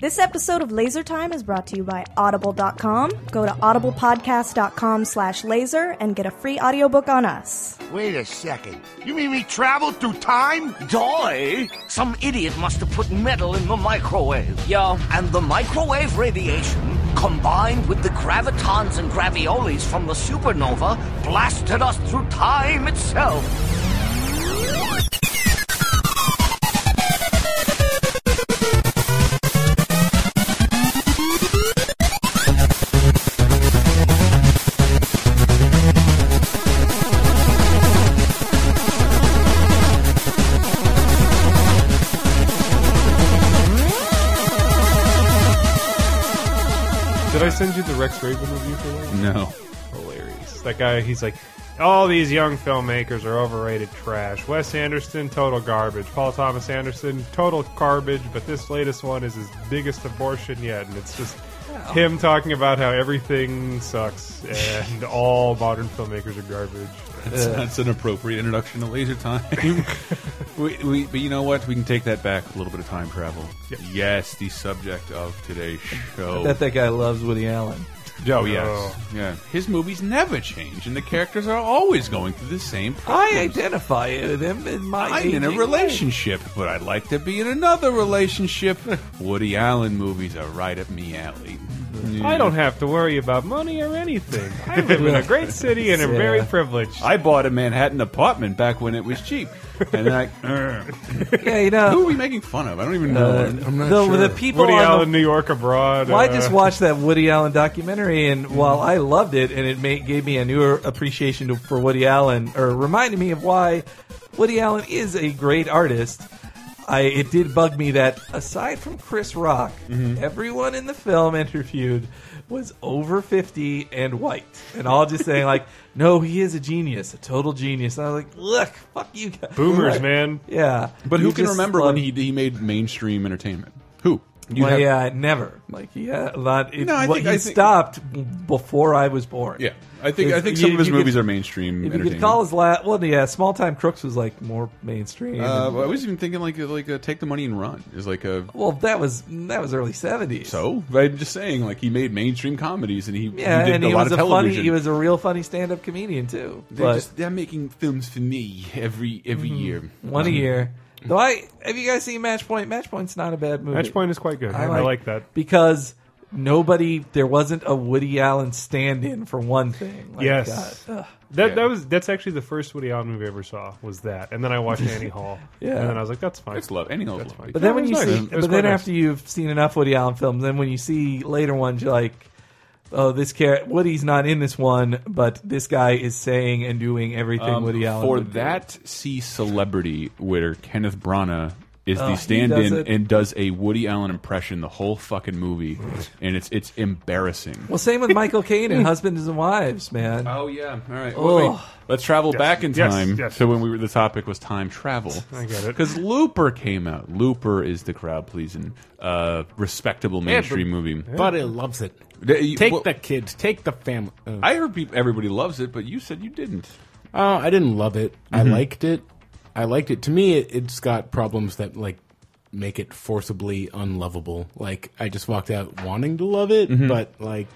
This episode of Laser Time is brought to you by Audible.com. Go to audiblepodcast.com slash laser and get a free audiobook on us. Wait a second. You mean we traveled through time? Die? Some idiot must have put metal in the microwave. Yeah. And the microwave radiation, combined with the gravitons and graviolis from the supernova, blasted us through time itself. Did I send you the Rex Raven review for that? No. Hilarious. That guy, he's like, all these young filmmakers are overrated trash. Wes Anderson, total garbage. Paul Thomas Anderson, total garbage. But this latest one is his biggest abortion yet, and it's just him talking about how everything sucks and all modern filmmakers are garbage. That's, that's an appropriate introduction to Laser Time. we, we, but you know what? We can take that back a little bit of time travel. Yes, the subject of today's show. That that guy loves Woody Allen. Joe, yes. Oh. Yeah. His movies never change, and the characters are always going through the same I problems. identify with him in my. I'm in a aging relationship, but I'd like to be in another relationship. Woody Allen movies are right up me alley. I don't have to worry about money or anything. I live in a great city and am very Yeah. privileged. I bought a Manhattan apartment back when it was cheap, and I. uh, life. Yeah, you Who know. are we making fun of? I don't even Uh, know. I'm not the, sure. the people Woody on the- Allen, New York abroad. Well, I uh, just watched that Woody Allen documentary, and while I loved it, and it made, gave me a newer appreciation to, for Woody Allen, or reminded me of why Woody Allen is a great artist. I it did bug me that aside from Chris Rock, Mm-hmm. everyone in the film interviewed was over fifty and white, and all just saying like, "No, he is a genius, a total genius." And I was like, "Look, fuck you, guys. boomers, man. Yeah, But You who can just remember love- when he he made mainstream entertainment? Who? You well, have- yeah, never. Like, yeah, not. It, No, I what- think- he I think- stopped before I was born. yeah. I think I If think some you- of his you could- movies are mainstream. If you entertainment. could call his last, well, yeah, Small Time Crooks was like more mainstream. uh, I was even thinking like like uh, take the money and run is like a well, that was that was early seventies. so. But I'm just saying like he made mainstream comedies and he, yeah, he did and a he lot was of a funny. television. He was a real funny stand-up comedian too. they're, But Mm-hmm. just, they're making films for me every every year. Uh-huh. one a year. Though I have you guys seen Matchpoint? Matchpoint's not a bad movie. Matchpoint is quite good. I like, that. because nobody. There wasn't a Woody Allen stand-in for one thing. Like, Yes. God, ugh. That Yeah. that was that's actually the first Woody Allen movie I ever saw was that, and then I watched Annie Hall. Yeah. and then I was like, that's fine. That's love. Any old That's love. fine. But then No, when it you was nice. see, It was but then quite nice. after you've seen enough Woody Allen films, then when you see later ones, you're like, oh, this character Woody's not in this one, but this guy is saying and doing everything Um, Woody Allen for would do. that see celebrity where Kenneth Branagh is Oh, the he stand-in does it. and does a Woody Allen impression the whole fucking movie, and it's it's embarrassing. Well, same with Michael Caine and Husbands and Wives, man. Oh yeah. All right. Oh. Well, wait. Let's travel back in Yes, time yes. to when we were the topic was time travel. I get it. Because Looper came out. Looper is the crowd pleasing, uh, respectable mainstream movie. Buddy loves it. They- Take well, the kids. Take the family. Oh, I heard peop everybody loves it, but you said you didn't. Oh, I didn't love it. I Mm-hmm. liked it. I liked it. To me, it, it's got problems that like make it forcibly unlovable. Like I just walked out wanting to love it, Mm-hmm. but like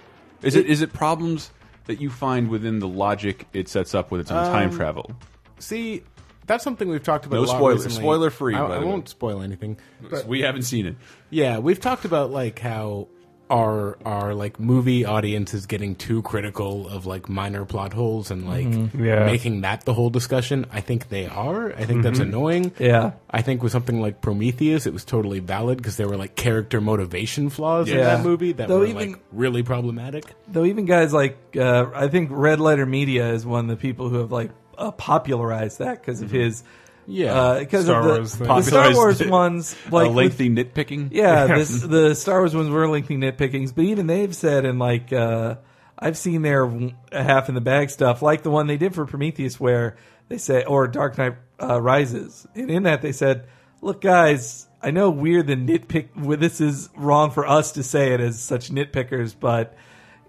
Is it is it problems that you find within the logic it sets up with its own Um, time travel? see, that's something we've talked about. No a lot spoilers. recently. Spoiler-free, I, by I the way. won't spoil anything. but- we haven't seen it. Yeah, we've talked about like how our our like movie audience is getting too critical of like minor plot holes and like Yeah. making that the whole discussion. I think they are. I think that's annoying. Mm-hmm. Yeah. I think with something like Prometheus, it was totally valid because there were like character motivation flaws in Yeah. that movie that Though were even- like really problematic. Though even guys like uh, I think Red Letter Media is one of the people who have like uh, popularized that because of his Yeah. because Star of the, Wars thing. the Star Popularized Wars it. ones Like like with- lengthy nitpicking. Yeah, this, the Star Wars ones were lengthy nitpickings, but even they've said, and like uh, I've seen their w- half in the bag stuff, like the one they did for Prometheus, where they said, or Dark Knight uh, Rises, and in that they said, "Look, guys, I know we're the nitpick. Well, this is wrong for us to say it as such nitpickers, but."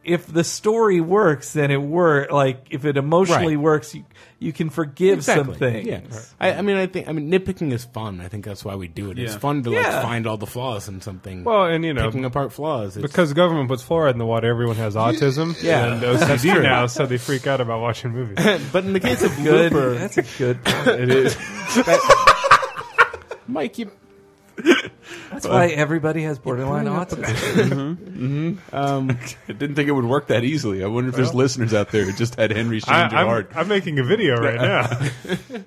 if the story works, then it work. Like if it emotionally Right. works, you, you can forgive Exactly. some things. Yeah. I, I mean, I think I mean nitpicking is fun. I think that's why we do it. It's Yeah. fun to Yeah. like find all the flaws in something. Well, and, you know, picking apart flaws it's- Because government puts fluoride in the water, everyone has autism Yeah. and OCD now, so they freak out about watching movies. But in the case of Good. Looper, That's a good. Point. it is. Mike, you, That's why everybody has borderline autism. Um, I didn't think it would work that easily. I wonder if there's listeners out there who just had Henry I, Shane I'm, Gerard. I'm making a video right now.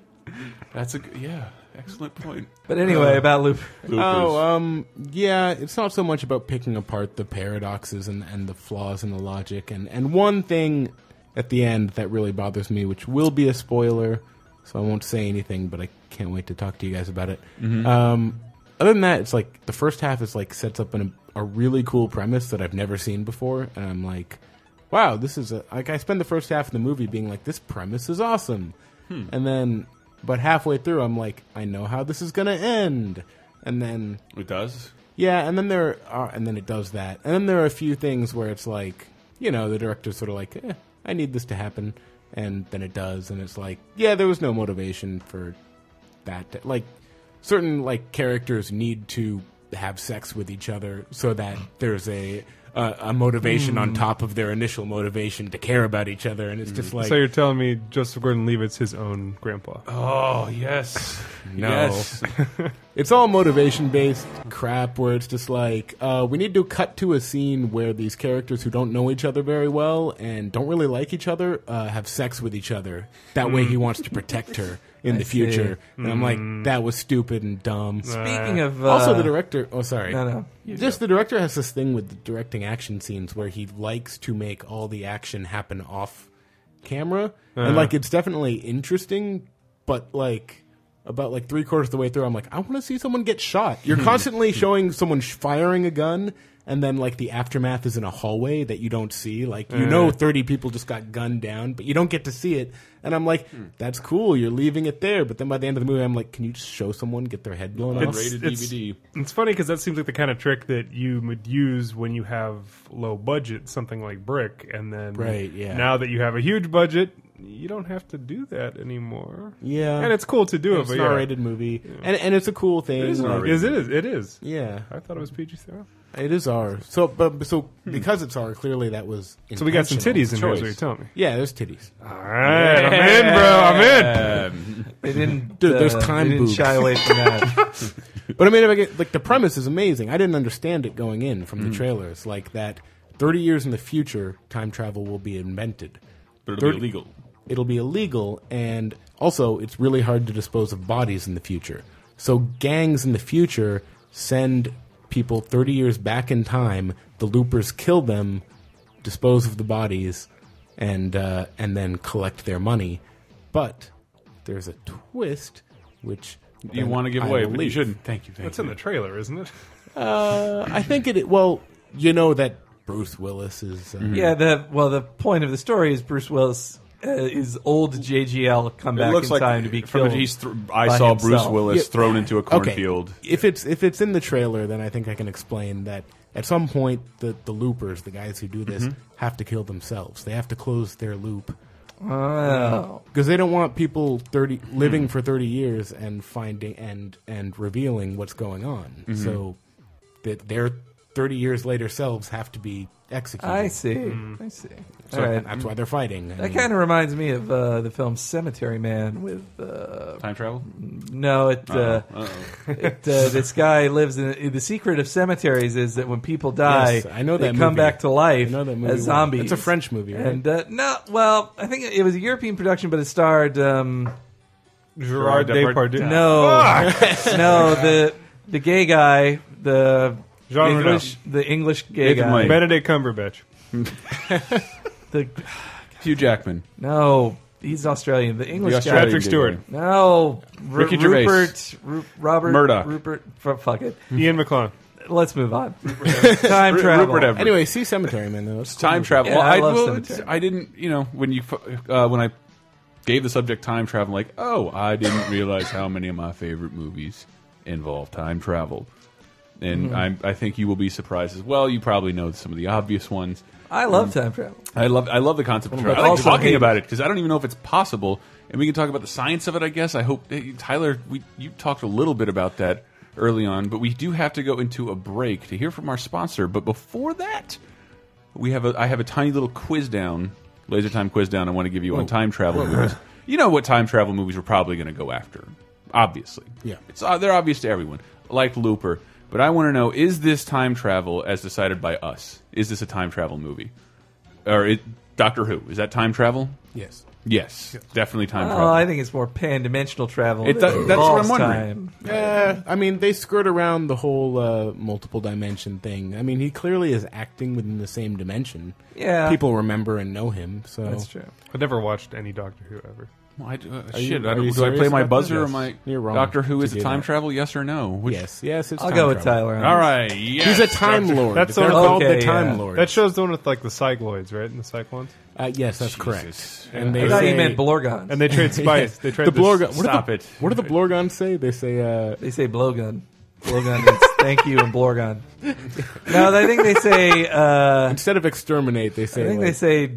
That's a g- yeah, excellent point. But anyway, about Looper. oh, um, yeah, it's not so much about picking apart the paradoxes and, and the flaws in the logic, and and one thing at the end that really bothers me, which will be a spoiler, so I won't say anything, but I can't wait to talk to you guys about it. Um, other than that, it's like the first half is like sets up an, a really cool premise that I've never seen before, and I'm like, wow, this is a, like I spend the first half of the movie being like, this premise is awesome, and then but halfway through, I'm like, I know how this is gonna end, and then it does. yeah, and then there are, and then it does that, and then there are a few things where it's like, you know, the director's sort of like, eh, I need this to happen, and then it does, and it's like, yeah, there was no motivation for that. To, like, certain like characters need to have sex with each other so that there's a uh, a motivation Hmm. on top of their initial motivation to care about each other, and it's just like, so you're telling me Joseph Gordon-Levitt's his own grandpa? Oh yes, No. Yes. It's all motivation based crap where it's just like, uh, we need to cut to a scene where these characters who don't know each other very well and don't really like each other uh, have sex with each other. That way he wants to protect her in the see. future. And I'm like, that was stupid and dumb. Speaking of uh, also, the director. Oh, sorry. No, no. Just the director has this thing with the directing action scenes where he likes to make all the action happen off camera, Uh-huh. and like it's definitely interesting, but like about like three quarters of the way through, I'm like, I want to see someone get shot. You're constantly showing someone sh- firing a gun. And then, like the aftermath is in a hallway that you don't see. Like you know, Uh-huh. thirty people just got gunned down, but you don't get to see it. And I'm like, Hmm. that's cool. You're leaving it there. But then by the end of the movie, I'm like, can you just show someone get their head blown off? rated it's- DVD. It's funny because that seems like the kind of trick that you would use when you have low budget, something like Brick, and then Right, yeah. Now that you have a huge budget, you don't have to do that anymore. Yeah. and it's cool to do It's it, an but yeah. R-rated movie, and and it's a cool thing. It is like- R-rated. It is. It is. Yeah, I thought it was PG-13. it is R. So, but so because it's R, clearly that was. Hmm. So we got some intentional. titties in here. Is what Choice. you're telling me? Yeah, there's titties. All right, I'm in, bro. I'm in. Um, they didn't. Dude, there's uh, time Hmm. They didn't boobs. shy away from that. But I mean, if I get, like the premise is amazing. I didn't understand it going in from Hmm. the trailers, like that. Thirty years in the future, time travel will be invented. But it'll Thirty- be illegal. It'll be illegal, and also it's really hard to dispose of bodies in the future. So gangs in the future send people thirty years back in time. The loopers kill them, dispose of the bodies, and uh, and then collect their money. But there's a twist, which You then want to give I away, will but you leave. shouldn't. Thank you. Thank That's you. in the trailer, isn't it? Uh, I think it. Well, you know that Bruce Willis is. Uh, yeah. The well, the point of the story is Bruce Willis uh, is old JGL come It back in looks like time to be from killed. the, he's thr- I by saw Bruce himself. Willis Yeah. thrown into a Okay. cornfield. If it's if it's in the trailer, then I think I can explain that at some point the the loopers, the guys who do Mm-hmm. this, have to kill themselves. They have to close their loop Oh. because they don't want people thirty Hmm. living for thirty years and finding and and revealing what's going on. Mm-hmm. So that their thirty years later selves have to be executed. I see. Hmm. I Hmm. see. So All right. that's why they're fighting. I That mean- kind of reminds me of uh, the film Cemetery Man with uh, Time travel. no, it, uh, Uh-oh. Oh. it uh, this guy lives in, in the secret of cemeteries is that when people die, Yes, I know they that come movie. back to life I know that movie as well. zombies. It's a French movie, right? and uh, no, well, I think it was a European production, but it starred um, Gerard Depardieu. Depardieu. no, no the the gay guy, the Jean English, the English gay Nathan guy, Lane. Benedict Cumberbatch. the Hugh Jackman. no, he's Australian, the The English guy. Australian Patrick gay Stewart. guy. No, R- Ricky Gervais. Rupert, Ru- Robert Murdoch. Rupert, f- fuck it. Ian McClellan. Let's move on. Time Ru- travel. Rupert Everett. Anyway, see Cemetery Man though. It's time travel. Yeah, well, I I, love well, cemetery. it's- I didn't, you know, when you fu- uh, when I gave the subject time travel, I'm like, oh, I didn't realize how many of my favorite movies involve time travel. and Mm-hmm. I'm, I think you will be surprised as well. You probably know some of the obvious ones. I love time travel. I love I love the concept of But travel. I like also- talking about it because I don't even know if it's possible, and we can talk about the science of it. I guess I hope hey, Tyler, we you talked a little bit about that early on, but we do have to go into a break to hear from our sponsor. But before that, we have a I have a tiny little quiz down, laser time quiz down. I want to give Oh. you on time travel movies. You know what time travel movies we're probably going to go after, obviously. Yeah. it's uh, they're obvious to everyone, like Looper. But I want to know: Is this time travel as decided by us? Is this a time travel movie? or it, Doctor Who. Is that time travel? Yes. Yes, definitely time Oh, travel. I think it's more pan-dimensional travel. It- that that- that's what I'm involves wondering. time. Uh, I mean, they skirt around the whole uh, multiple dimension thing. I mean, he clearly is acting within the same dimension. Yeah. people remember and know him. So That's true. I've never watched any Doctor Who ever. Well, I, do- uh, you- shit, I are don't, you do I play serious my about buzzer that? or my Yes. You're wrong Doctor Who to is it do time that. travel? Yes or no? Which- Yes, yes, it's I'll time go with travel. Tyler. on All this. right. Yes. He's a time Doctor- lord. That's They're all- called okay, the time yeah. lords. That show's the one with like the cycloids, right? And the cyclones, uh, yes, that's Jesus. correct. And I they thought say, you meant Blorgons. and they trade spice. They trade the this- Blorgon. What do Stop the, it. What do the Blorgons say? They say, uh, They say blowgun. Blowgun means thank you and blorgon. No, I think they say. Uh, instead of exterminate, they I say. think like, they say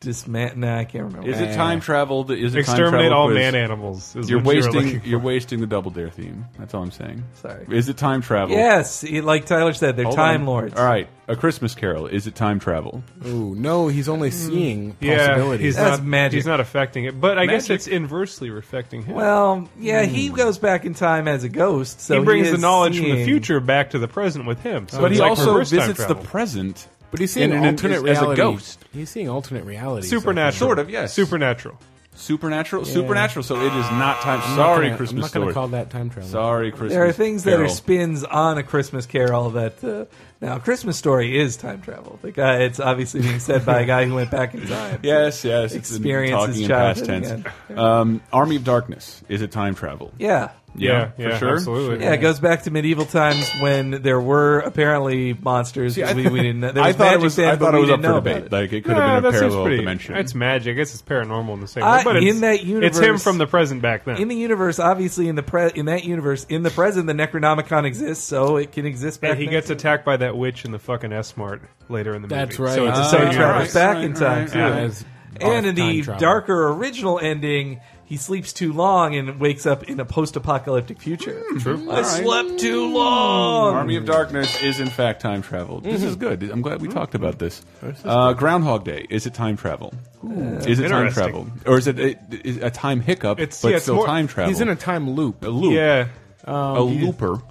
dismant. Nah, I can't remember. Is it time travel? that- Is it time Eh. Exterminate travel all quiz? man animals. Is You're what you were looking wasting. for. You're wasting the double dare theme. That's all I'm saying. Sorry. Is it time travel? Yes, it- like Tyler said, they're Hold time on. lords. All right. A Christmas Carol. Is it time travel? Ooh, no, he's only seeing Yeah, possibilities. he's That's not magic. He's not affecting it, but I guess Magic? it's inversely affecting him. Well, yeah, he goes back in time as a ghost, so he brings is the knowledge from the seeing- future back to the present with him. So But it's he like also reverse time visits the travel. present. but he's seeing in an- alternate as a reality. ghost. He's seeing alternate reality. supernatural. Sort of, yes. Supernatural. Supernatural. Supernatural. So it is not time. I'm not Sorry, gonna- Christmas I'm not going story. to call that time travel. Sorry, Christmas. There are things that are Carol. spins on a Christmas Carol that uh, now a Christmas story is time travel. The guy, it's obviously being said by a guy who went back in time. Yes, yes. it's in Experience talking his in past childhood tense. Um, Army of Darkness. Is it time travel? yeah, Yeah, yeah, for sure. absolutely. Yeah, it goes back to medieval times when there were apparently monsters. 'cause we, we didn't know. There I was thought it magic was. then, I but thought it we was up didn't for know about debate. it. Like it could Yeah, have been that a seems parallel pretty. dimension. It's magic. I guess it's paranormal in the same Uh, way. But in it's, that it's him universe- from the present back then. In the universe, obviously, in the pre- in that universe, in the present, the Necronomicon exists, so it can exist back. and he then, gets too. attacked by that witch in the fucking S Mart later in the movie. That's right. So it's a Ah, same he universe. travels right, back in right, time right. too. Yeah. As- And as in time the travel. darker original ending, he sleeps too long and wakes up in a post-apocalyptic future. Hmm. True. I All right. slept too long. Army of Darkness is in fact time travel. This is good. I'm glad we talked about this. Uh, Groundhog Day is it time travel? is it time Interesting. travel, or is it a, is a time hiccup? It's- but yeah, it's still more- time travel. He's in a time loop. a loop. Yeah. a looper.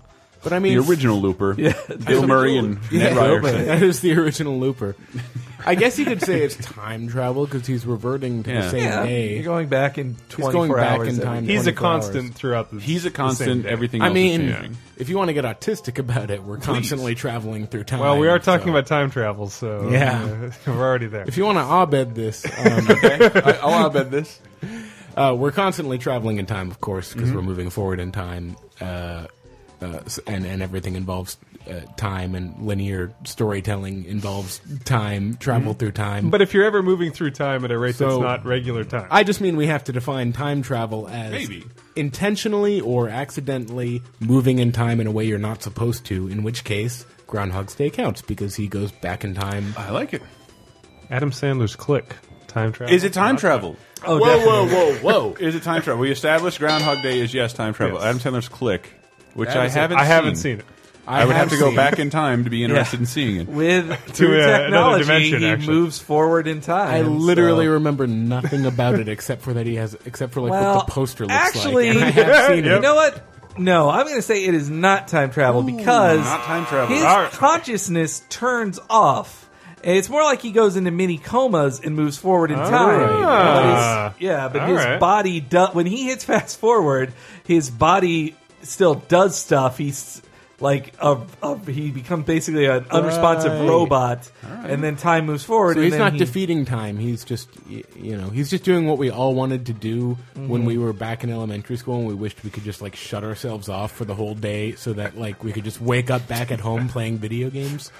But I The mean, original looper. Bill Murray and Ned Ryerson. that is the original Looper. I guess you could say it's time travel because he's reverting to Yeah. the same Yeah, day. you're going back in 24 going back hours in every time. day. He's a 24 constant hours. throughout the He's a the same constant. day. Everything. I else mean, is changing. if you want to get autistic about it, we're constantly traveling through time. Well, we are talking so- about time travel, so Yeah. uh, we're already there. If you want to abed this, um, I, I'll bet this. uh, we're constantly traveling in time, of course, Mm-hmm. because we're moving forward in time, uh, uh, s- and and everything involves uh, time, and linear storytelling involves time, travel Mm-hmm. through time. But if you're ever moving through time at a rate that's So- not regular time, I just mean we have to define time travel as Maybe. intentionally or accidentally moving in time in a way you're not supposed to, in which case Groundhog's Day counts because he goes back in time. I like it. Adam Sandler's Click time travel. Is it time travel? Oh, whoa, definitely. whoa, whoa, whoa! Is it time travel? We established Groundhog Day is yes time travel. Yes. Adam Sandler's Click, which That I is it. haven't. I haven't seen it. I, would have to go seen back it. in time to be interested in seeing it. With through uh, another technology, dimension, he actually. moves forward in time. I literally uh, so- remember nothing about it except for that he has, except for like Well, what the poster looks actually- like. And I have seen You it. know what? No, I'm going to say it is not time travel because not time travel. His All right. consciousness turns off. And It's more like he goes into mini comas and moves forward in time. right. But his- yeah, but All his right. body do- when he hits fast forward, his body still does stuff. He's like a, a he becomes basically an unresponsive Right. robot, and then time moves forward. So and he's then not he- defeating time. He's just, y- you know, he's just doing what we all wanted to do Mm-hmm. when we were back in elementary school, and we wished we could just like shut ourselves off for the whole day, so that like we could just wake up back at home playing video games.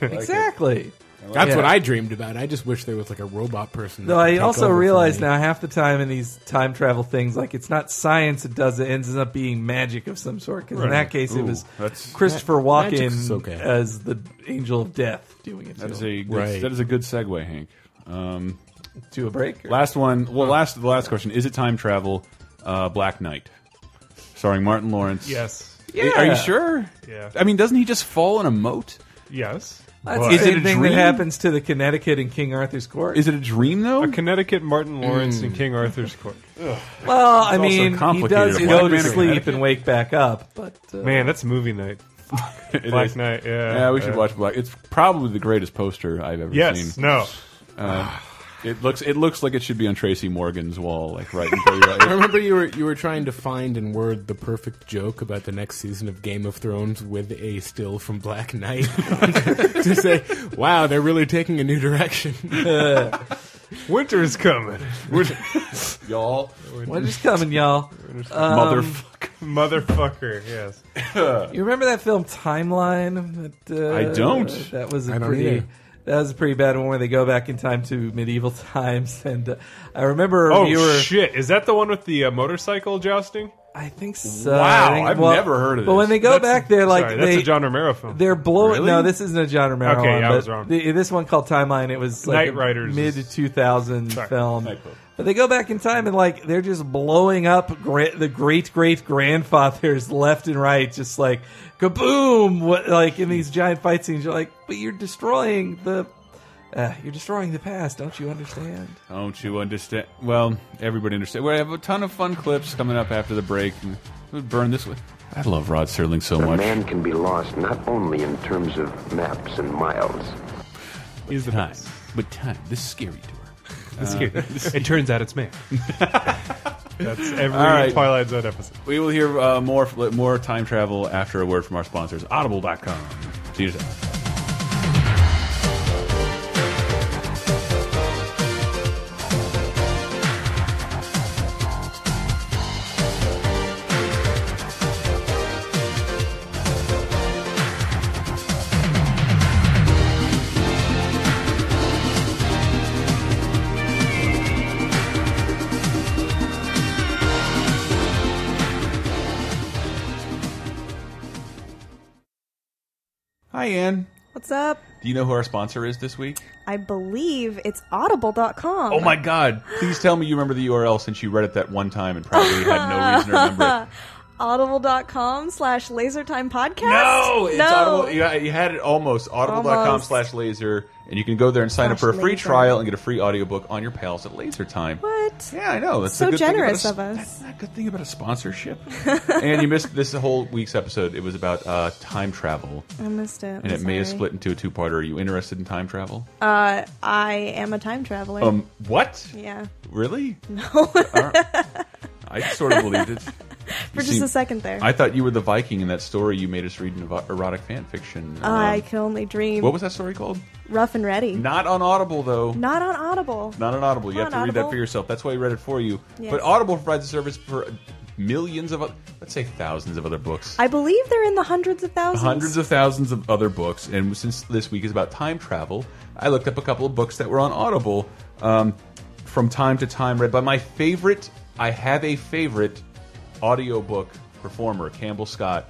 exactly. That's Yeah. what I dreamed about. I just wish there was like a robot person. Though that could I take also over for realize me. now half the time in these time travel things, like it's not science that does it, it ends up being magic of some sort. Because in that case, it Ooh, was that's- Christopher Ma- magic's Walken okay. as the angel of death doing it. That to is him. a good, Right. that is a good segue, Hank. Um, to a break. or- last one. Well, last the last question is it time travel? Uh, Black Knight, starring Martin Lawrence. Yes. Are you sure? Yeah. I mean, doesn't he just fall in a moat? Yes. That's But- the Is it same a thing dream? that happens to the Connecticut and King Arthur's court. Is it a dream though? a Connecticut Martin Lawrence Mm. and King Arthur's Court. well, I also mean, he complicated. does A go black to man in sleep Connecticut. and wake back up. But uh, Man, that's movie night. It Black is. Knight, yeah. Yeah, we should Uh, watch Black. It's probably the greatest poster I've ever Yes. seen. No. It looks it looks like it should be on Tracy Morgan's wall, like right in front of your I remember you were you were trying to find and word the perfect joke about the next season of Game of Thrones with a still from Black Knight to say, "Wow, they're really taking a new direction." Winter's coming. y'all. winter's coming, y'all. Um, Motherfucker. Motherfucker, yes. You remember that film Timeline? That, uh, I don't. That was a I don't pretty. either. That was a pretty bad one where they go back in time to medieval times, and uh, I remember a Oh, reviewer. shit. Is that the one with the uh, motorcycle jousting? I think so. Wow, I think- I've never heard of But when this. they go back, they're like Sorry, they, that's a John Romero film. They're blowing. Really? No, this isn't a John Romero. Okay, one, yeah, I but was wrong. The, this one called Timeline. It was like Knight Riders mid is- two thousand Sorry. film. Typo. But they go back in time and like they're just blowing up gra- the great great grandfathers left and right, just like kaboom! What like in these giant fight scenes? You're like, but you're destroying the. Uh, you're destroying the past, don't you understand? Don't you understand? Well, everybody understand. We have a ton of fun clips coming up after the break. And we'll burn this one. I love Rod Serling so A much. man can be lost not only in terms of maps and miles. He's the Time, best. but time. This is scary to her. It's cute. it turns out it's man. That's every All right. Twilight Zone episode. We will hear uh, more more time travel after a word from our sponsors, Audible.com. See you soon. Hi, Ann. What's up? Do you know who our sponsor is this week? I believe it's audible.com. Oh my God! Please tell me you remember the URL since you read it that one time and probably had no reason to remember it. Audible.com slash lasertime podcast? No, it's no. Audible. You, you had it almost. Audible.com Almost. slash laser, and you can go there and sign up for Slash a free laser. trial and get a free audiobook on your pals at Laser Time. What? Yeah, I know. That's So the good thing about generous a- of us. That's a good thing about a sponsorship. and you missed this whole week's episode. It was about uh, time travel, I missed it. and it may have split into a two-parter. Are you interested in time travel? Uh, I am a time traveler. um, what? yeah. Really? No. I sort of believed it. For just a second there. I thought you were the Viking in that story you made us read in evo- erotic fan fiction. I Um, can only dream. what was that story called? Rough and ready. Not on Audible, though. Not on Audible. Not on Audible. You Not have to on read that Audible. for yourself. That's why we read it for you. Yes. But Audible provides a service for millions of, oth- let's say thousands of other books. I believe they're in the hundreds of thousands. Hundreds of thousands of other books, and since this week is about time travel, I looked up a couple of books that were on Audible um, from time to time, read by my favorite. I have a favorite audiobook performer, Campbell Scott.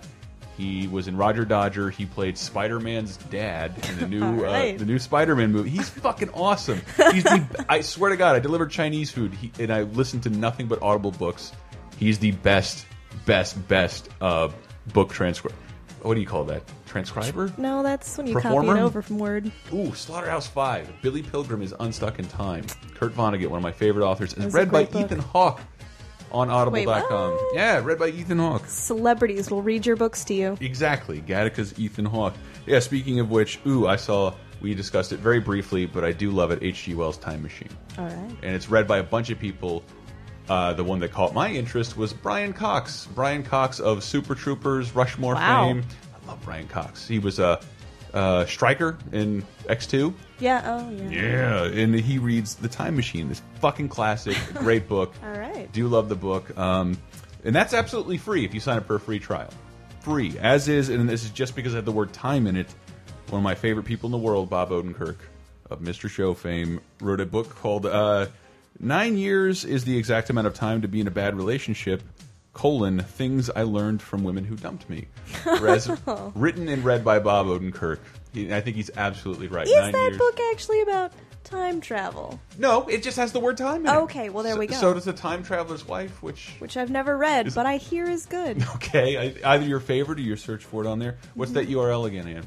He was in Roger Dodger. He played Spider Man's dad in the new right. uh, the new Spider Man movie. He's fucking awesome. He's the, I swear to God, I delivered Chinese food, he, and I listened to nothing but Audible books. He's the best, best, best uh, book transcriber. What do you call that? Transcriber? No, that's when you Performer? copy it over from Word. Ooh, Slaughterhouse Five. Billy Pilgrim is unstuck in time. Kurt Vonnegut, one of my favorite authors, is was a read by great book. Ethan Hawke on Audible.com. what? Yeah, read by Ethan Hawke. Celebrities will read your books to you. Exactly, Gattaca's Ethan Hawke. Yeah, speaking of which, ooh, I saw we discussed it very briefly, but I do love it. H.G. Wells' Time Machine, All right. and it's read by a bunch of people. Uh, the one that caught my interest was Brian Cox. Brian Cox of Super Troopers, Rushmore Wow. fame. I love Brian Cox. He was a, a striker in X Two. Yeah, oh, yeah. Yeah, and he reads The Time Machine, this fucking classic, great book. All right. Do love the book. Um, and that's absolutely free if you sign up for a free trial. Free, as is, and this is just because I have the word time in it, one of my favorite people in the world, Bob Odenkirk, of Mr. Show fame, wrote a book called uh, Nine Years is the Exact Amount of Time to Be in a Bad Relationship, colon, Things I Learned from Women Who Dumped Me. Res- Oh. written and read by Bob Odenkirk. He, I think he's absolutely right. Is Nine that years. book actually about time travel? No, it just has the word time in it. Okay, well, there So- we go. So does The Time Traveler's Wife, which... Which I've never read, but I hear is good. Okay, I, either your favorite or your search for it on there. What's Mm-hmm. that URL again, Anne?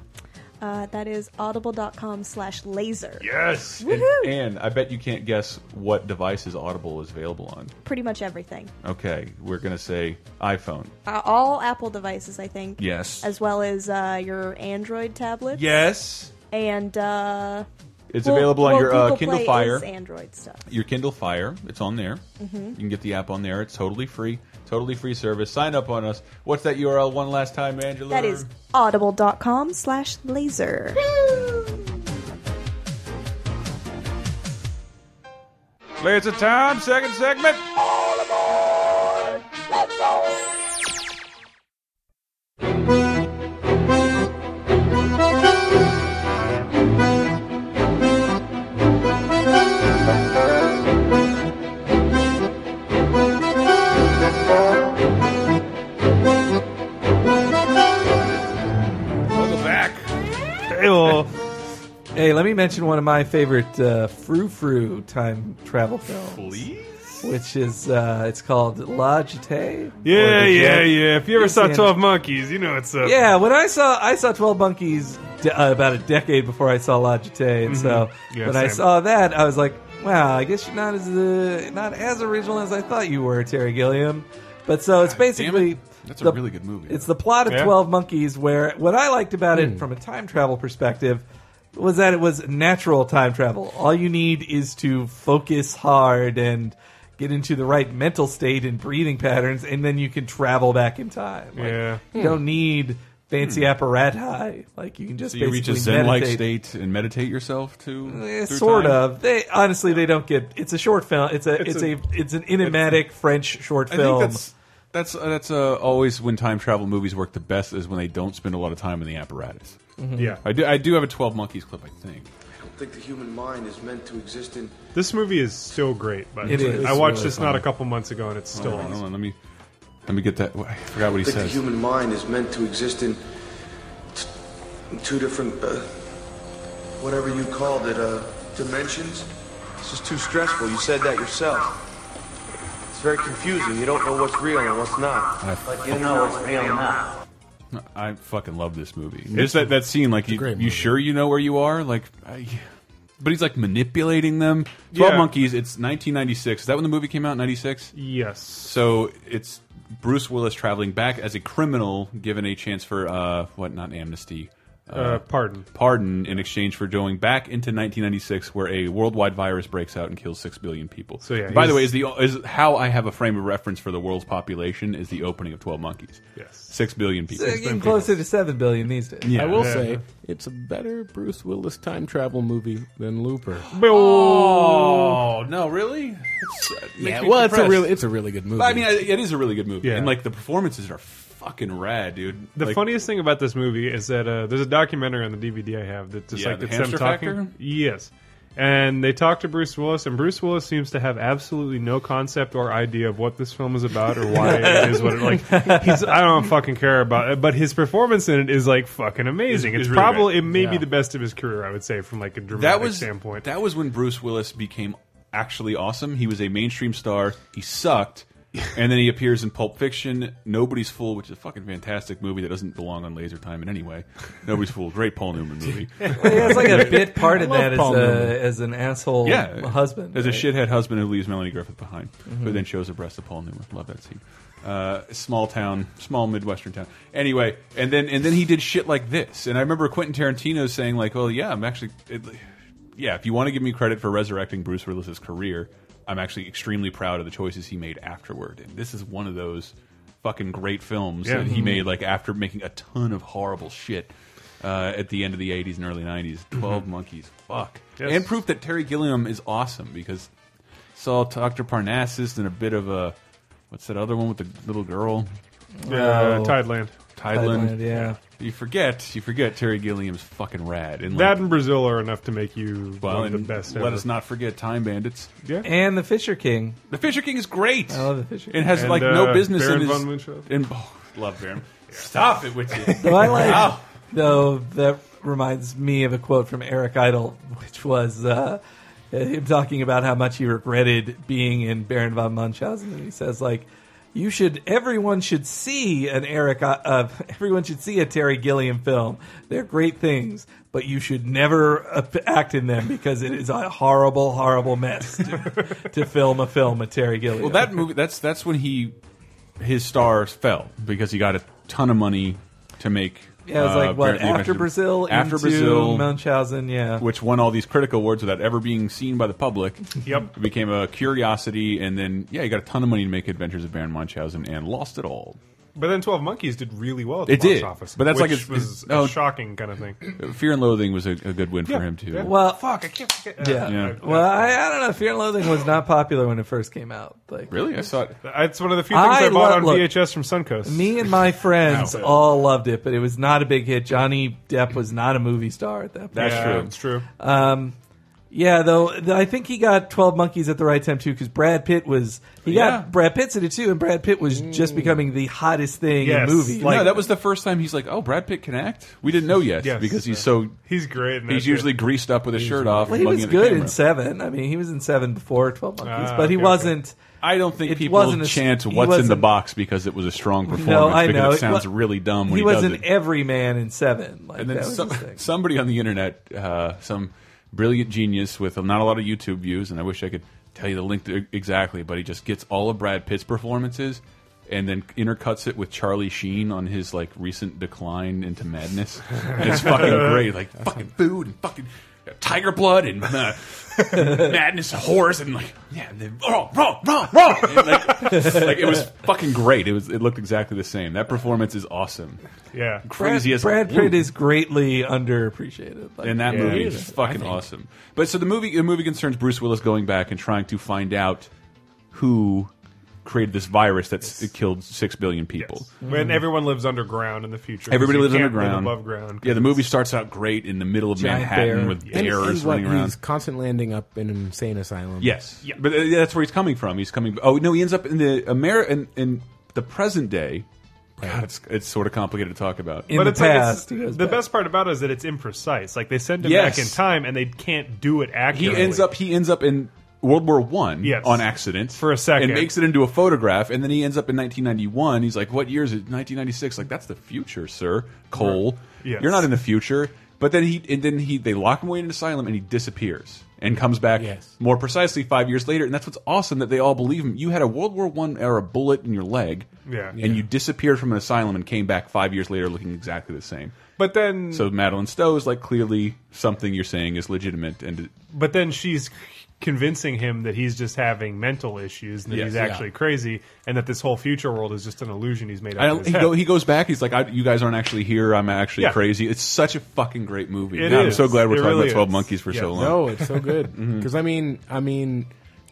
Uh, that is audible.com slash laser. Yes. And, Woohoo. Anne, I bet you can't guess what devices Audible is available on. Pretty much everything. Okay, we're gonna say iPhone. Uh, all Apple devices, I think. Yes. As well as uh, your Android tablets. Yes. And uh, It's well- available on well, your uh, Google Kindle Play Fire. Is Android stuff. your Kindle Fire. It's on there. Mm-hmm. You can get the app on there. It's totally free. Totally free service. Sign up on us. What's that URL one last time, Angela? That is audible.com slash laser. It's a time, second segment. Welcome back. Hey, let me mention one of my favorite uh, frou frou time travel films, Please. which is uh, it's called La Jetée. Yeah, yeah, yeah. If you ever Yes, saw Andy. Twelve Monkeys, you know it's uh, up. Yeah, when I saw I saw Twelve Monkeys de- uh, about a decade before I saw La Jetée, and so Mm-hmm. Yeah, when I same. saw that, I was like, "Wow, I guess you're not as uh, not as original as I thought you were, Terry Gilliam." But so it's basically That's a really good movie. It's the plot of Yeah. Twelve Monkeys, where what I liked about Hmm. it from a time travel perspective was that it was natural time travel. All you need is to focus hard and. Get into the right mental state and breathing patterns, and then you can travel back in time. Like, Yeah. you don't need fancy apparatus. Like you can just So you reach basically a zen-like meditate. state and meditate yourself to Eh, through sort time? of. They honestly they don't get. It's a short film. It's a It's it's, a- a, it's an enigmatic French short I film. Eh, think that's that's uh, that's uh, always when time travel movies work the best is when they don't spend a lot of time in the apparatus. yeah. I do I do have a Twelve Monkeys clip, I think. I think the human mind is meant to exist in This movie is still great. By the It way. is. I watched It's this really not a couple months ago, and it's still. Hold on, awesome. hold on, let me let me get that. I forgot what he I think the says. human mind is meant to exist in t- two different, uh, whatever you called it, uh, dimensions. This is too stressful. You said that yourself. It's very confusing. You don't know what's real and what's not. But you know it's real now. I fucking love this movie. There's that, that scene like you, great you movie. sure you know where you are like. I, but he's like manipulating them. Twelve Yeah. Monkeys. It's 1996. Is that when the movie came out? 96. Yes. So it's Bruce Willis traveling back as a criminal, given a chance for uh, what? Not amnesty. Uh, pardon. pardon in exchange for going back into 1996, where a worldwide virus breaks out and kills six billion people. So, yeah, by the he's- way, is the is how I have a frame of reference for the world's population is the opening of Twelve Monkeys. Yes. six billion people. They're getting closer to seven billion these days. Yeah. I will Yeah. say it's a better Bruce Willis time travel movie than Looper. Oh no, really? It's, uh, makes me well, it's a depressed. really it's a really good movie. I mean, I- it is a really good movie, Yeah. and like the performances are fucking rad, dude. The like, funniest thing about this movie is that uh, there's a documentary on the DVD I have that just Yeah, like the it's them Hamster talking. Factor? Yes, and they talk to Bruce Willis, and Bruce Willis seems to have absolutely no concept or idea of what this film is about or why it is what it like. He's I don't fucking care about it, but his performance in it is like fucking amazing. It's- It's, it's really probably great. it may be Yeah. the best of his career, I would say, from like a dramatic that was standpoint. that was when Bruce Willis became actually awesome. He was a mainstream star. He sucked, and then he appears in Pulp Fiction, Nobody's Fool, which is a fucking fantastic movie that doesn't belong on Laser Time in any way. Nobody's Fool, great Paul Newman movie. Well, yeah, it's like a bit part of love that as, Paul Newman. a, as an asshole yeah, husband. as a right? Mm-hmm. shithead husband who leaves Melanie Griffith behind, who then shows her breast to Paul Newman. Love that scene. Uh, small town, small midwestern town. Anyway, and then and then he did shit like this. And I remember Quentin Tarantino saying like, "Well, yeah, I'm actually, it, yeah, if you want to give me credit for resurrecting Bruce Willis's career, I'm actually extremely proud of the choices he made afterward. And this is one of those fucking great films Yeah. that he made like after making a ton of horrible shit." Uh, at the end of the 80s and early 90s, 12 Monkeys. Fuck. Mm-hmm. Yes. And proof that Terry Gilliam is awesome because saw Dr. Parnassus and a bit of a what's that other one with the little girl? uh, Tideland. Tideland. yeah. You forget, you forget Terry Gilliam's fucking rad. And That like, and Brazil are enough to make you well, one of the and best let ever. us not forget Time Bandits. Yeah. And the Fisher King. The Fisher King is great. I love the Fisher King. It has And, like no uh, business Baron in his. von Munchausen. in- oh, love Baron. Stop it with you. Well, I like, Wow. though, that reminds me of a quote from Eric Idle, which was uh, him talking about how much he regretted being in Baron von Munchausen. And he says, like, you should, everyone should see an Eric, I- uh, everyone should see a Terry Gilliam film. They're great things, but you should never uh, act in them because it is a horrible, horrible mess to, to film a film with Terry Gilliam. Well, that movie. That's that's when he his stars fell because he got a ton of money to make. yeah, it was like, uh, what, Baron- the after Adventures- Brazil, after into Brazil, Munchausen, yeah. which won all these critical awards without ever being seen by the public. Yep. It became a curiosity, and then yeah, he got a ton of money to make Adventures of Baron Munchausen and lost it all. But then Twelve Monkeys did really well at the It box did, office. but that's like which it's- was it's- oh. a shocking kind of thing. Fear and Loathing was a, a good win Yeah, for him too. yeah. Well, Fuck, I can't forget. Yeah. Uh, Yeah. I- Well, I, I don't know. Fear and Loathing was not popular when it first came out. Like Really, I saw it. It's one of the few things I I, bought lo- on look, VHS from Suncoast. Me and my friends all loved it, but it was not a big hit. Johnny Depp was not a movie star at that point. That's yeah, true. It's true. Um, yeah, though th- I think he got Twelve Monkeys at the right time too, because Brad Pitt was he Yeah. got Brad Pitt's in it too, and Brad Pitt was Mm. just becoming the hottest thing Yes, in movies. like- no, that was the first time he's like, "Oh, Brad Pitt can act." We didn't know yet Yes. because he's so He's great. in that he's shit. usually greased up with his shirt off. Well, and he looking was at the good camera. in Seven. I mean, he was in Seven before Twelve Monkeys, Ah, but he okay, okay. wasn't. I don't think It wasn't people a- chant he "What's in the wasn't- box" because it was a strong performance. No, I because know it sounds wa- really dumb when he, was does an it. everyman in Seven. Like, and then that was some, his thing. somebody on the internet, uh, some brilliant genius with not a lot of YouTube views, and I wish I could tell you the link to, exactly, but he just gets all of Brad Pitt's performances and then intercuts it with Charlie Sheen on his like recent decline into madness. And it's fucking great, like fucking food and fucking tiger blood and uh, madness, and horse, and like yeah, and then, wrong, wrong, wrong, wrong. And, like, like it was fucking great. It was it looked exactly the same. That performance is awesome. yeah. Crazy as Brad Pitt Woo. is greatly underappreciated. Like, And that Yeah. movie It is fucking awesome. But so the movie the movie concerns Bruce Willis going back and trying to find out who created this virus that's it killed six billion people. Mm-hmm. When everyone lives underground in the future, Everybody You lives can't live underground. above ground. Yeah, the movie starts out great in the middle of Giant Manhattan bear. with And- bears and what, running around. He's constantly ending up in an insane asylum. Yes, Yeah. but uh, that's where he's coming from. He's coming. Oh no, he ends up in the America in, in the present day. God, it's it's sort of complicated to talk about. in the like, past, he goes the back. best part about it is that it's imprecise. Like they send him Yes. back in time, and they can't do it he accurately. ends up he ends up in World War One Yes. on accident For a second. and makes it into a photograph, and then he ends up in 1991. He's like, "What year is it? 1996? Like that's the future, sir. Cole, Yes. you're not in the future." But then he and then he they lock him away in an asylum, and he disappears and comes back Yes. more precisely five years later. And that's what's awesome that they all believe him. You had a World War One era bullet in your leg, Yeah. and Yeah. you disappeared from an asylum and came back five years later looking exactly the same. but then, So Madeline Stowe is like clearly something you're saying is legitimate and but then she's convincing him that he's just having mental issues and that Yes, he's yeah. actually crazy, and that this whole future world is just an illusion he's made up. I in don't, his he, head. go, he goes back. He's like, I, "You guys aren't actually here. I'm actually Yeah. crazy." It's such a fucking great movie. It And I'm is. so glad we're It talking really about Twelve is. Monkeys for Yeah. so long. No, it's so good. Mm-hmm. Because I mean, I mean,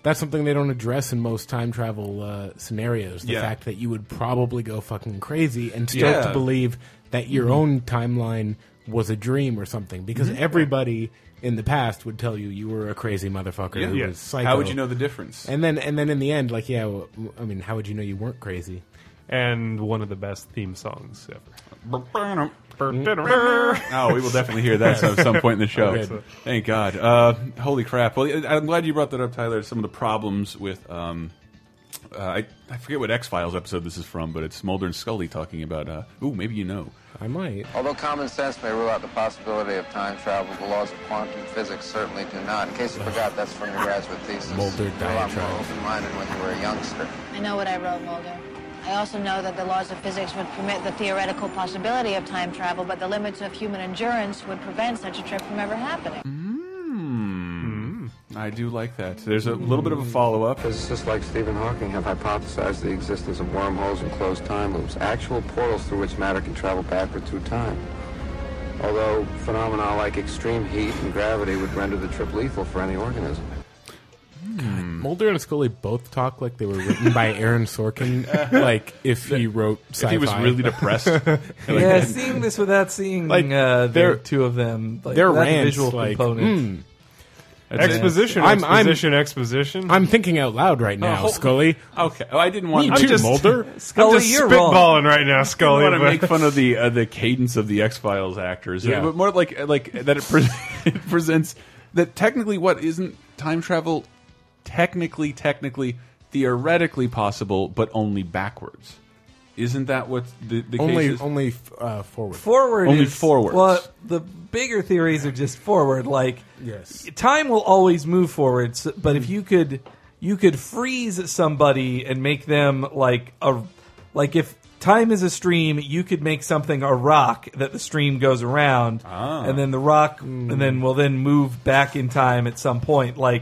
that's something they don't address in most time travel uh, scenarios. The Yeah. fact that you would probably go fucking crazy and start Yeah. Mm-hmm. to believe that your own timeline was a dream or something. Because everybody in the past would tell you you were a crazy motherfucker Yeah. who Yeah. was psycho. How would you know the difference? And then, and then in the end, like, yeah, well, I mean, how would you know you weren't crazy? and one of the best theme songs ever. Mm-hmm. oh, we will definitely hear that at some point in the show. Okay. Thank God. Uh, holy crap! Well, I'm glad you brought that up, Tyler. Some of the problems with. Um, uh, I, I forget what X Files episode this is from, but it's Mulder and Scully talking about. Uh, ooh, maybe you know. I might. Although common sense may rule out the possibility of time travel, the laws of quantum physics certainly do not. In case you forgot, that's from your graduate thesis. Mulder you were a lot more diatribe. open-minded when you were a youngster. I know what I wrote, Mulder. I also know that the laws of physics would permit the theoretical possibility of time travel, but the limits of human endurance would prevent such a trip from ever happening. I do like that. There's a little bit of a Mm. follow up. Physicists like Stephen Hawking have hypothesized the existence of wormholes and closed time loops, actual portals through which matter can travel backward through time. Although phenomena Um, like extreme heat and gravity would render the trip lethal for any organism. Mulder and Scully both talk like they were written by Aaron Sorkin. like if he wrote sci-fi. If he was really depressed. like, yeah, seeing this without seeing Like, uh, the their- two of them, like, their that rants, visual like, component. that's it. Exposition, I'm- I'm- exposition, exposition. I'm thinking out loud right now, Oh, Scully. Okay, oh, I didn't want Me to too, just, Mulder. Scully, I'm just you're spitballing wrong. right now, I Scully. want to but- make fun of the uh, the cadence of the X Files actors, Yeah. but more like like that it, pre it presents that technically what isn't time travel, technically, technically, theoretically possible, but only backwards. Isn't that what the, the Only case is? only uh, forward. Forward Only is, forwards. Well, the bigger theories are just forward. Like Yes. time will always move forward, so, but if you could, you could freeze somebody and make them like a like if. Time is a stream. You could make something a rock that the stream goes around, Ah. and then the rock, Hmm. and then will then move back in time at some point. Like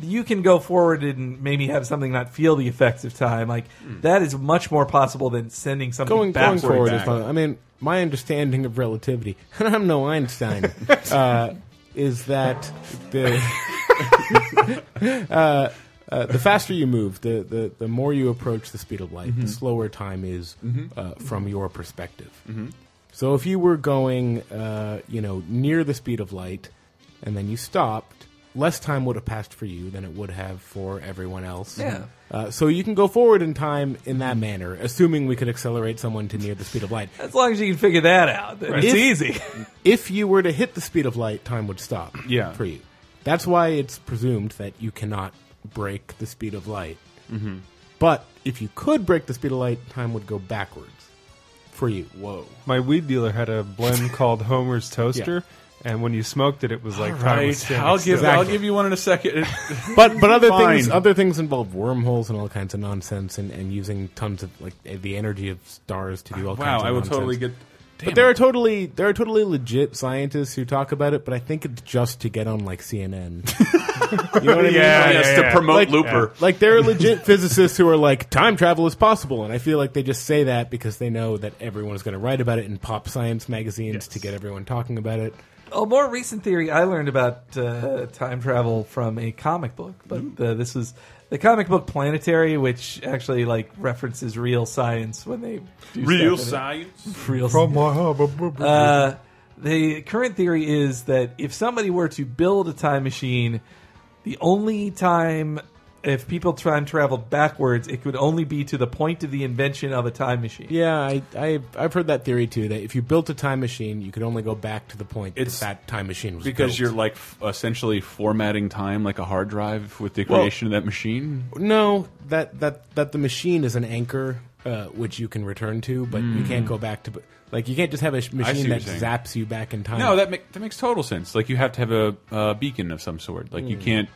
you can go forward and maybe have something not feel the effects of time. Like that is much more possible than sending something Hmm. going going backwards. forward is back. fine. I mean, my understanding of relativity, and I'm no Einstein, uh, is that the uh, uh, the faster you move, the, the the more you approach the speed of light, Mm-hmm. the slower time is uh, from your perspective. So if you were going, uh, you know, near the speed of light, and then you stopped. Less time would have passed for you than it would have for everyone else. Yeah. Uh, so you can go forward in time in that manner, assuming we could accelerate someone to near the speed of light. As long as you can figure that out, then it's If- easy. If you were to hit the speed of light, time would stop Yeah. for you. That's why it's presumed that you cannot break the speed of light. Mm-hmm. But if you could break the speed of light, time would go backwards for you. Whoa. my weed dealer had a blend called Homer's Toaster, and when you smoked it, it was like time was Right, standing I'll give still. I'll Exactly. give you one in a second. But but other Fine. things other things involve wormholes and all kinds of nonsense and, and using tons of like eh, the energy of stars to do all wow, kinds of I will nonsense. totally get. But there are totally there are totally legit scientists who talk about it, but I think it's just to get on like CNN. you know what I mean? Yeah, Like, yes, yeah, to yeah. promote Like- Looper. Like there are legit physicists who are like time travel is possible, and I feel like they just say that because they know that everyone is going to write about it in pop science magazines to get everyone talking about it. a more recent theory I learned about uh, time travel from a comic book, but uh, this was the comic book Planetary, which actually like references real science when they do Real stuff in it. science. Real From Oh, my hub. Uh, the current theory is that if somebody were to build a time machine, the only time if people time traveled backwards, it could only be to the point of the invention of a time machine. Yeah, I, I I've heard that theory too. That if you built a time machine, you could only go back to the point It's- that that time machine was Because built. you're like f essentially formatting time like a hard drive with the Well- creation of that machine. No, that that that the machine is an anchor, uh, which you can return to, but you can't go back to. Like you can't just have a sh- Hmm. what machine you're that saying. zaps you back in time. No, that make, that makes total sense. Like you have to have a uh, beacon of some sort. Like you can't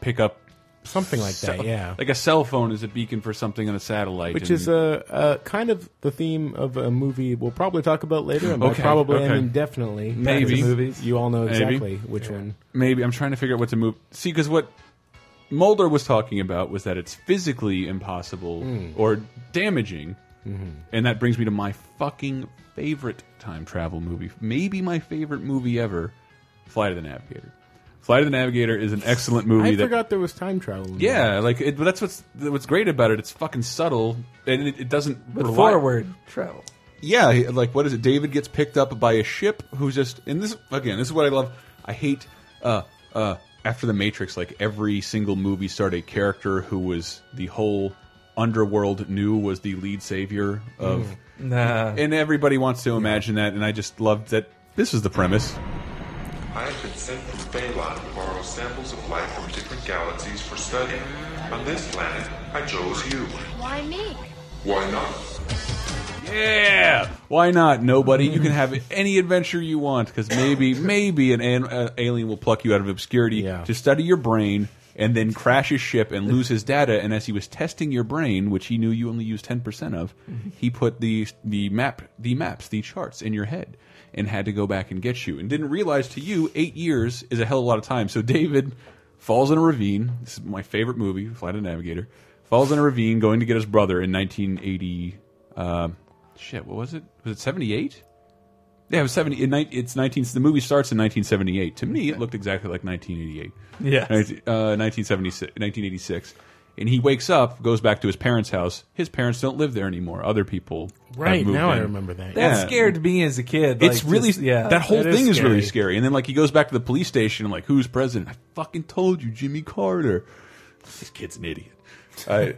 pick up Hmm. something like that. cell- Yeah, like a cell phone is a beacon for something on a satellite, and- which is uh, uh, kind of the theme of a movie we'll probably talk about later. And by Okay, probably okay. I mean definitely. Maybe. Because movies. You all know Maybe. exactly which one. maybe I'm trying to figure out what to move. See, because what Mulder was talking about was that it's physically impossible Hmm. or damaging, Mm-hmm. and that brings me to my fucking favorite time travel movie, maybe my favorite movie ever, Flight of the Navigator. Flight of the Navigator is an excellent movie. I that, forgot there was time travel. in that. Yeah, like it, but that's what's what's great about it. It's fucking subtle, and it, it doesn't. But rely- forward travel. Yeah, he- like what is it? David gets picked up by a ship who's just. And this again, this is what I love. I hate. Uh, uh, after the Matrix, like every single movie started a character who was the whole underworld knew was the lead savior of, Mm. Nah. and everybody wants to imagine that. And I just loved that. This is the premise. I have been sent from Baylon to borrow samples of life from different galaxies for study. On this planet, I chose you. Why me? Why not? Yeah, why not? Nobody, you can have any adventure you want because maybe, maybe an, an uh, alien will pluck you out of obscurity Yeah. to study your brain and then crash his ship and lose his data. And as he was testing your brain, which he knew you only used ten percent of, he put the the map, the maps, the charts in your head. And had to go back and get you, and didn't realize to you eight years is a hell of a lot of time. So David falls in a ravine. This is my favorite movie, Flight of the Navigator. Falls in a ravine, going to get his brother in 1980. Uh, Shit, what was it? Was it 78? Yeah, it was seventy. In, ni- it's nineteen. The movie starts in nineteen seventy eight. To me, it looked exactly like nineteen eighty eight. Yes. uh, 1976, 1986. and he wakes up, goes back to his parents' house. His parents don't live there anymore. Other people have Right, moved now I in. remember that. That scared me as a kid. It's like, really just- yeah. That whole That is thing is really scary. scary. And then like he goes back to the police station and like who's president? I fucking told you, Jimmy Carter. This kid's an idiot. Uh,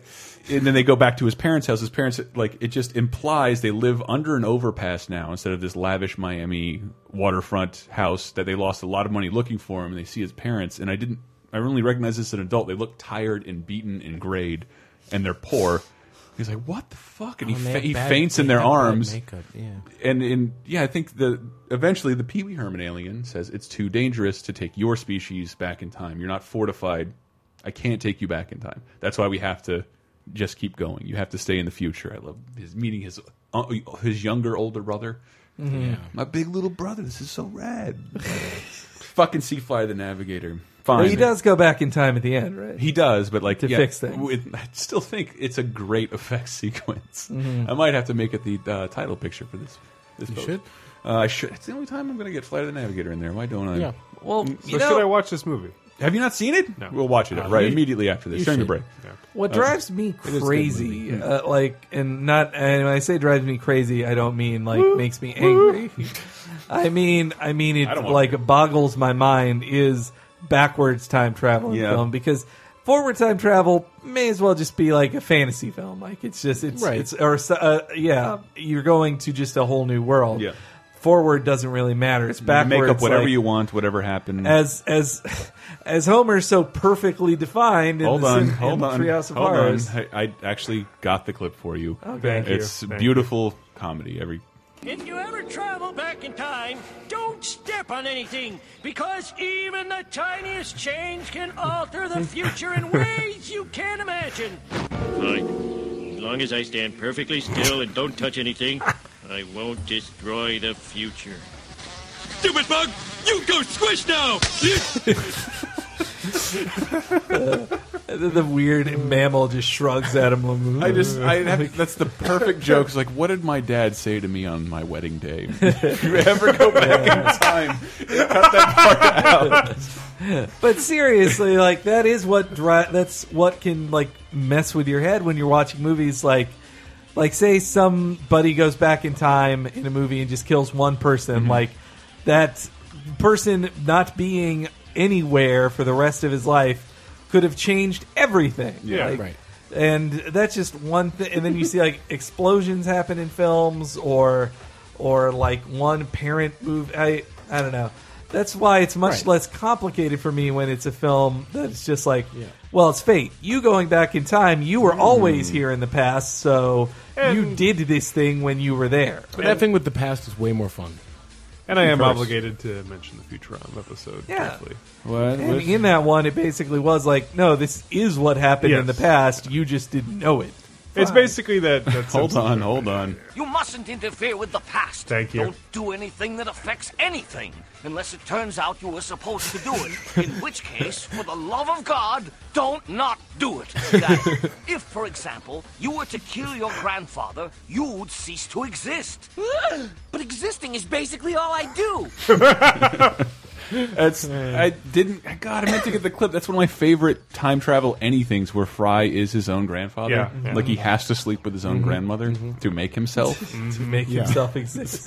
and then they go back to his parents' house. His parents like it just implies they live under an overpass now instead of this lavish Miami waterfront house that they lost a lot of money looking for him. And they see his parents, and I didn't. I only recognize this as an adult. They look tired and beaten and grayed, and they're poor. He's like, "What the fuck?" Oh, And he, fa he faints in their arms and in yeah, I think the eventually the Pee Wee Herman alien says it's too dangerous to take your species back in time. You're not fortified. I can't take you back in time. That's why we have to just keep going. You have to stay in the future. I love his meeting his uh, his younger older brother. My big little brother. This is so rad. Fucking Sea Fly the Navigator. Fine. Well, he does go back in time at the end, right? He does, but like To yeah, fix things. with- I still think it's a great effects sequence. Mm-hmm. I might have to make it the uh, title picture for this. this You boat. should. Uh, I should. It's the only time I'm going to get Flight of the Navigator in there. Why don't I? Yeah. Well, Mm, So you know, should I watch this movie? Have you not seen it? No. We'll watch it Uh, right immediately after this you during the should. break. Uh, what drives me good crazy, uh, like, and not, and when I say drives me crazy, I don't mean like makes me angry. I mean, I mean it I don't want like to. boggles my mind is backwards time travel in Yeah. film because forward time travel may as well just be like a fantasy film. Like it's just it's Right. it's or so- uh, yeah, you're going to just a whole new world. Yeah. Forward doesn't really matter. It's You backwards. Make up whatever like, you want, whatever happened. as as as Homer's so perfectly defined. In hold the, on, Sim- in hold the on, Treehouse of hold on. Horrors. Oh, I, I actually got the clip for you. Okay. Thank you. It's Thank you. beautiful comedy. Every If you ever travel back in time, don't step on anything because even the tiniest change can alter the future in ways you can't imagine. Fine. As long as I stand perfectly still and don't touch anything, I won't destroy the future. Stupid bug! You go squish now! The, the weird mammal just shrugs at him. Lamoon. I just, I have, that's the perfect joke. It's like, what did my dad say to me on my wedding day? if you ever go back in time, cut that part out. but seriously, like that is what dri- that's what can like mess with your head when you're watching movies. Like, like say somebody goes back in time in a movie and just kills one person. Mm-hmm. Like that person not being anywhere for the rest of his life could have changed everything. Yeah, Like, right. And that's just one thing. And then you see like explosions happen in films, or or like one parent move. I I don't know. That's why it's much Right. less complicated for me when it's a film that's just like, well, it's fate. You going back in time. You were always here in the past, so you And- did this thing when you were there. But that thing with the past is way more fun. And I am course. obligated to mention the Futurama episode Yeah. briefly. What? And in that one, it basically was like, no, this is what happened in the Yes. past. You just didn't know it. It's basically that. that Hold Simpsons on, movie. hold on. You mustn't interfere with the past. Thank you. Don't do anything that affects anything unless it turns out you were supposed to do it. In which case, for the love of God, don't not do it. That- if, for example, you were to kill your grandfather, you'd cease to exist. But existing is basically all I do. That's I didn't. God, I meant to get the clip. That's one of my favorite time travel anythings, where Fry is his own grandfather. Yeah, yeah. Like he has to sleep with his own grandmother to make himself. Mm-hmm. to make himself exist.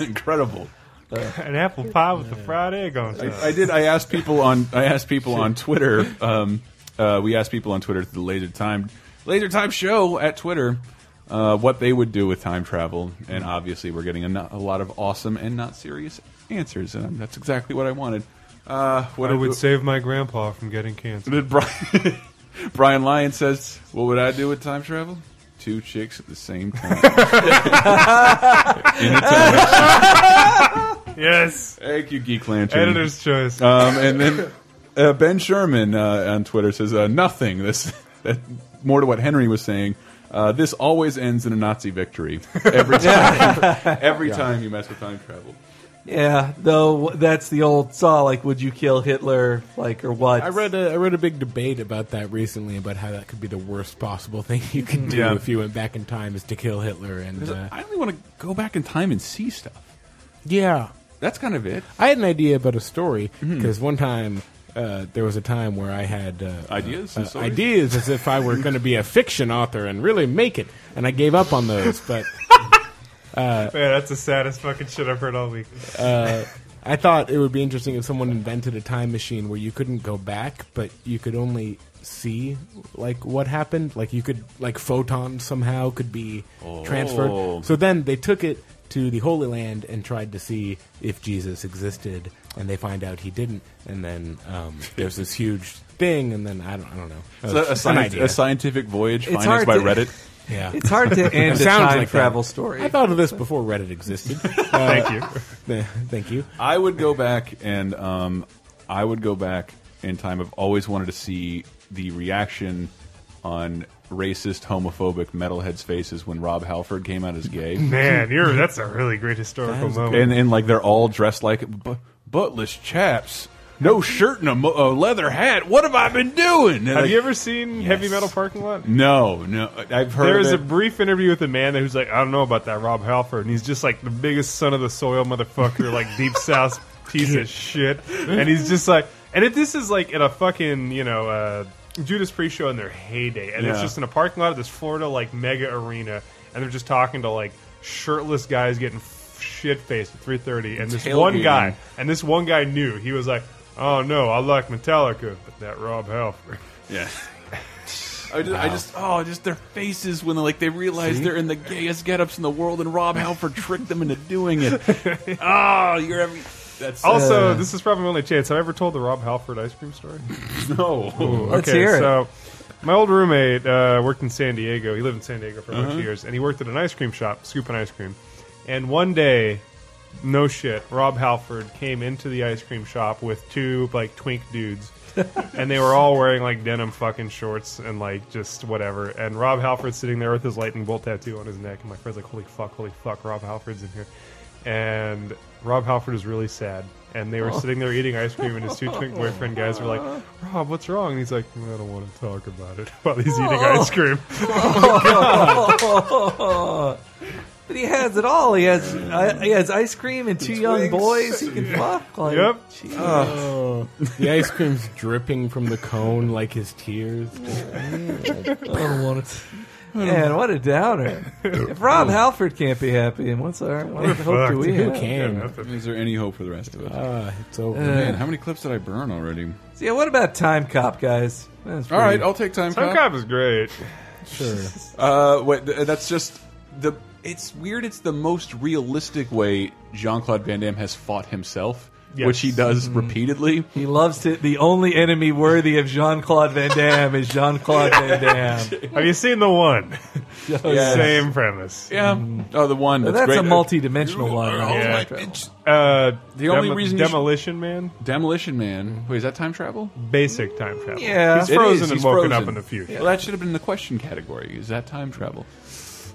Incredible. An apple pie with a fried egg on top. I did. I asked people on. I asked people on Twitter. Um, uh, we asked people on Twitter at the laser time, laser time show at Twitter, uh, what they would do with time travel, and obviously we're getting a, no- a lot of awesome and not serious answers, and that's exactly what I wanted. Uh, what I I would save my grandpa from getting cancer. Did Brian, Brian Lyon says, "What would I do with time travel? Two chicks at the same time." In a time. Yes, Thank you, Geek Lantern. editor's choice. Um, and then uh, Ben Sherman uh, on Twitter says uh, nothing. This that, more to what Henry was saying. Uh, this always ends in a Nazi victory every time. every time you mess with time travel. Yeah, though that's the old saw. Like, would you kill Hitler? Like, or what? I read a I read a big debate about that recently about how that could be the worst possible thing you could do Yeah. if you went back in time is to kill Hitler and uh, I only want to go back in time and see stuff. yeah. That's kind of it. I had an idea about a story Mm-hmm. because one time uh, there was a time where I had uh, Ideas uh, and stories? ideas as if I were going to be a fiction author and really make it, and I gave up on those. But uh, Man, that's the saddest fucking shit I've heard all week. uh, I thought it would be interesting if someone invented a time machine where you couldn't go back, but you could only see like what happened. Like you could like photons somehow could be Oh. transferred. So then they took it to the Holy Land and tried to see if Jesus existed, and they find out he didn't. And then um, there's this huge thing, and then I don't, I don't know. Is that a, An science, idea. a scientific voyage It's financed hard by to- Reddit? Yeah. It's hard to end a time travel story. I thought of this before Reddit existed. Thank you. th- Thank you. I would go back and um, I would go back in time. I've always wanted to see the reaction on racist, homophobic metalheads' faces when Rob Halford came out as gay. Man, you're that's a really great historical moment. and and like they're all dressed like bu buttless chaps, no shirt and a, mo a leather hat. What have I been doing? And Have like, you ever seen Heavy Metal Parking Lot? No, no. I've heard There of was a it. brief interview with a man who's like, I don't know about that Rob Halford, and he's just like the biggest son of the soil motherfucker, like deep south piece of shit, and he's just like, and if this is like at a fucking you know uh, Judas Priest show in their heyday, and it's Yeah. just in a parking lot of this Florida like mega arena, and they're just talking to like shirtless guys getting shit faced at three thirty, and this one Tailgating. guy, and this one guy knew he was like, oh no, I like Metallica, but that Rob Halford. Yeah. I just, I just, oh, just their faces when they like they realize See? they're in the gayest getups in the world, and Rob Halford tricked them into doing it. oh, you're every. That's Also, uh, this is probably my only chance. Have I ever told the Rob Halford ice cream story? No. Ooh, Let's okay, hear it. so my old roommate uh, worked in San Diego. He lived in San Diego for a bunch Uh-huh. of years, and he worked at an ice cream shop, scooping ice cream. And one day, no shit, Rob Halford came into the ice cream shop with two like twink dudes. and they were all wearing like denim fucking shorts and like just whatever. And Rob Halford's sitting there with his lightning bolt tattoo on his neck. And my friend's like, holy fuck, holy fuck, Rob Halford's in here. And Rob Halford is really sad. And they were Oh. sitting there eating ice cream, and his two twink boyfriend guys were like, Rob, what's wrong? And he's like, I don't want to talk about it while he's eating ice cream. Oh. But he has it all. He has uh, he has ice cream and two young boys he can fuck. Like, jeez. Oh. the ice cream's dripping from the cone like his tears. I don't want it. Man, what a downer! if Rob Halford can't be happy, and what's our what We're hope do fucked. we Who have? Is there any hope for the rest of us? Ah, it's over. Man, how many clips did I burn already? So, yeah, what about Time Cop, guys? That's All right, pretty- I'll take time. Time Cop is great. Sure. Uh, wait, th- that's just the. It's weird. It's the most realistic way Jean Claude Van Damme has fought himself, Yes. which he does Mhm. repeatedly. He loves to. The only enemy worthy of Jean Claude Van Damme is Jean Claude Van Damme. Have you seen the one? Yes. Same premise. Yeah. Oh, the one. Well, That's, that's great. a multi-dimensional one. Oh, Yeah. my bitch. Uh, the only Demo- reason Demolition Man. Demolition Man. Wait, is that time travel? Basic time travel. Yeah. He's It frozen is, and he's woken frozen. up in the future. Well, that should have been the question category. Is that time travel?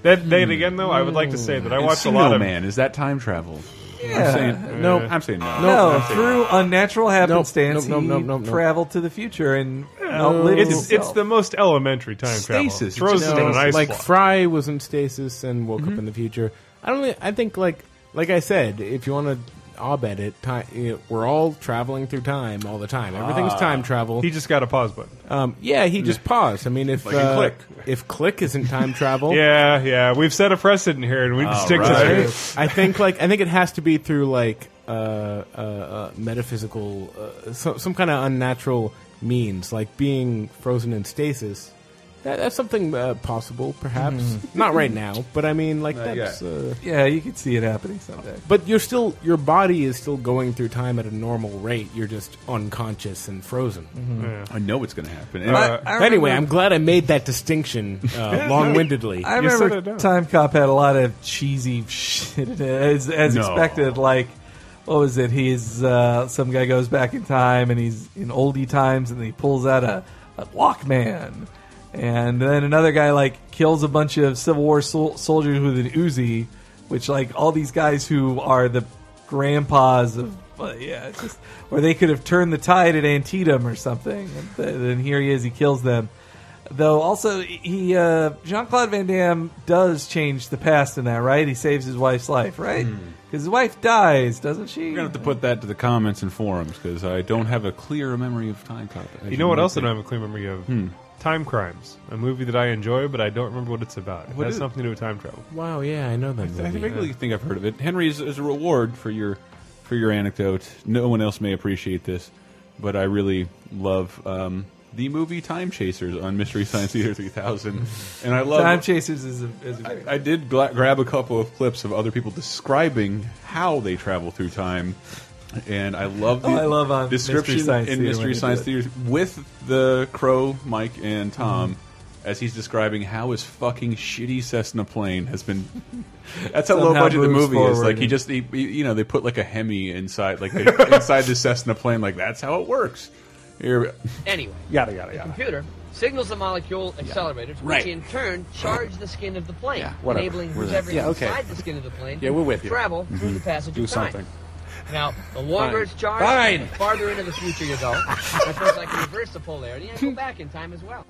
That then again, though, I would like to say that I And watched a lot of- Mm. Man. Is that time travel? Yeah. I'm saying, Nope. I'm saying no. No, I'm saying through unnatural happenstance, nope, nope, he nope, nope. traveled to the future and outlived It's, himself. it's the most elementary time travel. Frozen in an ice like block. Mm-hmm. Fry was in stasis and woke up in the future. I don't. Really, I think like like I said, if you want to. Abed it. Time, you know, we're all traveling through time all the time. Everything's Ah. time travel. He just got a pause button. Um, yeah, he just paused. I mean, if Like in uh, Click. if click isn't time travel, Yeah, yeah. We've set a precedent here, and we can stick to that. I think like I think it has to be through like uh, uh, uh, metaphysical, uh, so, some kind of unnatural means, like being frozen in stasis. That, that's something uh, possible, perhaps Mhm. not right now, but I mean, like Not that's yet. uh, Yeah, you could see it happening someday. But you're still your body is still going through time at a normal rate. You're just unconscious and frozen. Mm-hmm. Mhm. Yeah. I know it's going to happen. Uh, I- I anyway, remember- I'm glad I made that distinction uh, long-windedly. I remember Time Cop had a lot of cheesy shit in it, as, as No. expected. Like, what was it? He's uh, some guy goes back in time and he's in oldie times, and he pulls out a, a Walkman, and then another guy like kills a bunch of Civil War sol- soldiers with an Uzi, which like all these guys who are the grandpas of. But yeah, it's just or they could have turned the tide at Antietam or something. And th- then here he is, he kills them. Though also he uh, Jean Claude Van Damme does change the past in that, right? He saves his wife's life, right? Hmm. Because his wife dies, doesn't she? You're gonna have to put that to the comments and forums because I don't have a clear memory of time cop. as You know what might else I think. don't have a clear memory of? Hmm. Time Crimes, a movie that I enjoy, but I don't remember what it's about. It What has is it? something to do with time travel. Wow, yeah, I know that I movie. vaguely think I've heard of it. Henry, as, as a reward for your for your anecdote, no one else may appreciate this, but I really love um, the movie Time Chasers on Mystery Science Theater 3000, and I love Time Chasers is a, is a great I did gla grab a couple of clips of other people describing how they travel through time, and I love the Oh, I love on description Mystery Science in Theater when Mystery they Science do Theater with the Crow, Mike, and Tom. Mm-hmm. As he's describing how his fucking shitty Cessna plane has been, that's how low Somehow budget the moves movie is. forward Like he and- just, he, he- you know, they put like a Hemi inside, like they, inside the Cessna plane. Like that's how it works. Here, Anyway. yada yada The yada. computer signals the molecule accelerators, which Right. in turn charge the skin of the plane, whatever. enabling We're there. whoever Yeah, okay. inside the skin of the plane Yeah, we're with to you. travel through Mhm. the passage Do of time. something. Now, the longer Fine. it's charged, Fine. the farther into the future you go. And of course, I can reverse the polarity and go back in time as well.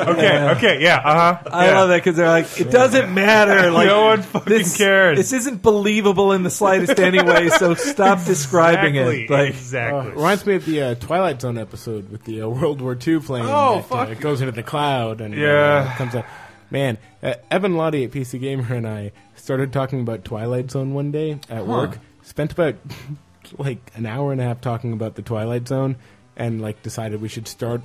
Okay, okay, yeah, uh-huh. I yeah. love that because they're like, it doesn't matter. Like No one fucking this, cares. This isn't believable in the slightest anyway. So stop describing Exactly, it. Like Uh, reminds me of the uh, Twilight Zone episode with the uh, World War II plane. Oh, that, uh, fuck. goes into the cloud and uh, Yeah. comes out. Man, uh, Evan Lottie at PC Gamer and I started talking about Twilight Zone one day at Huh. work. Spent about like an hour and a half talking about the Twilight Zone, and like decided we should start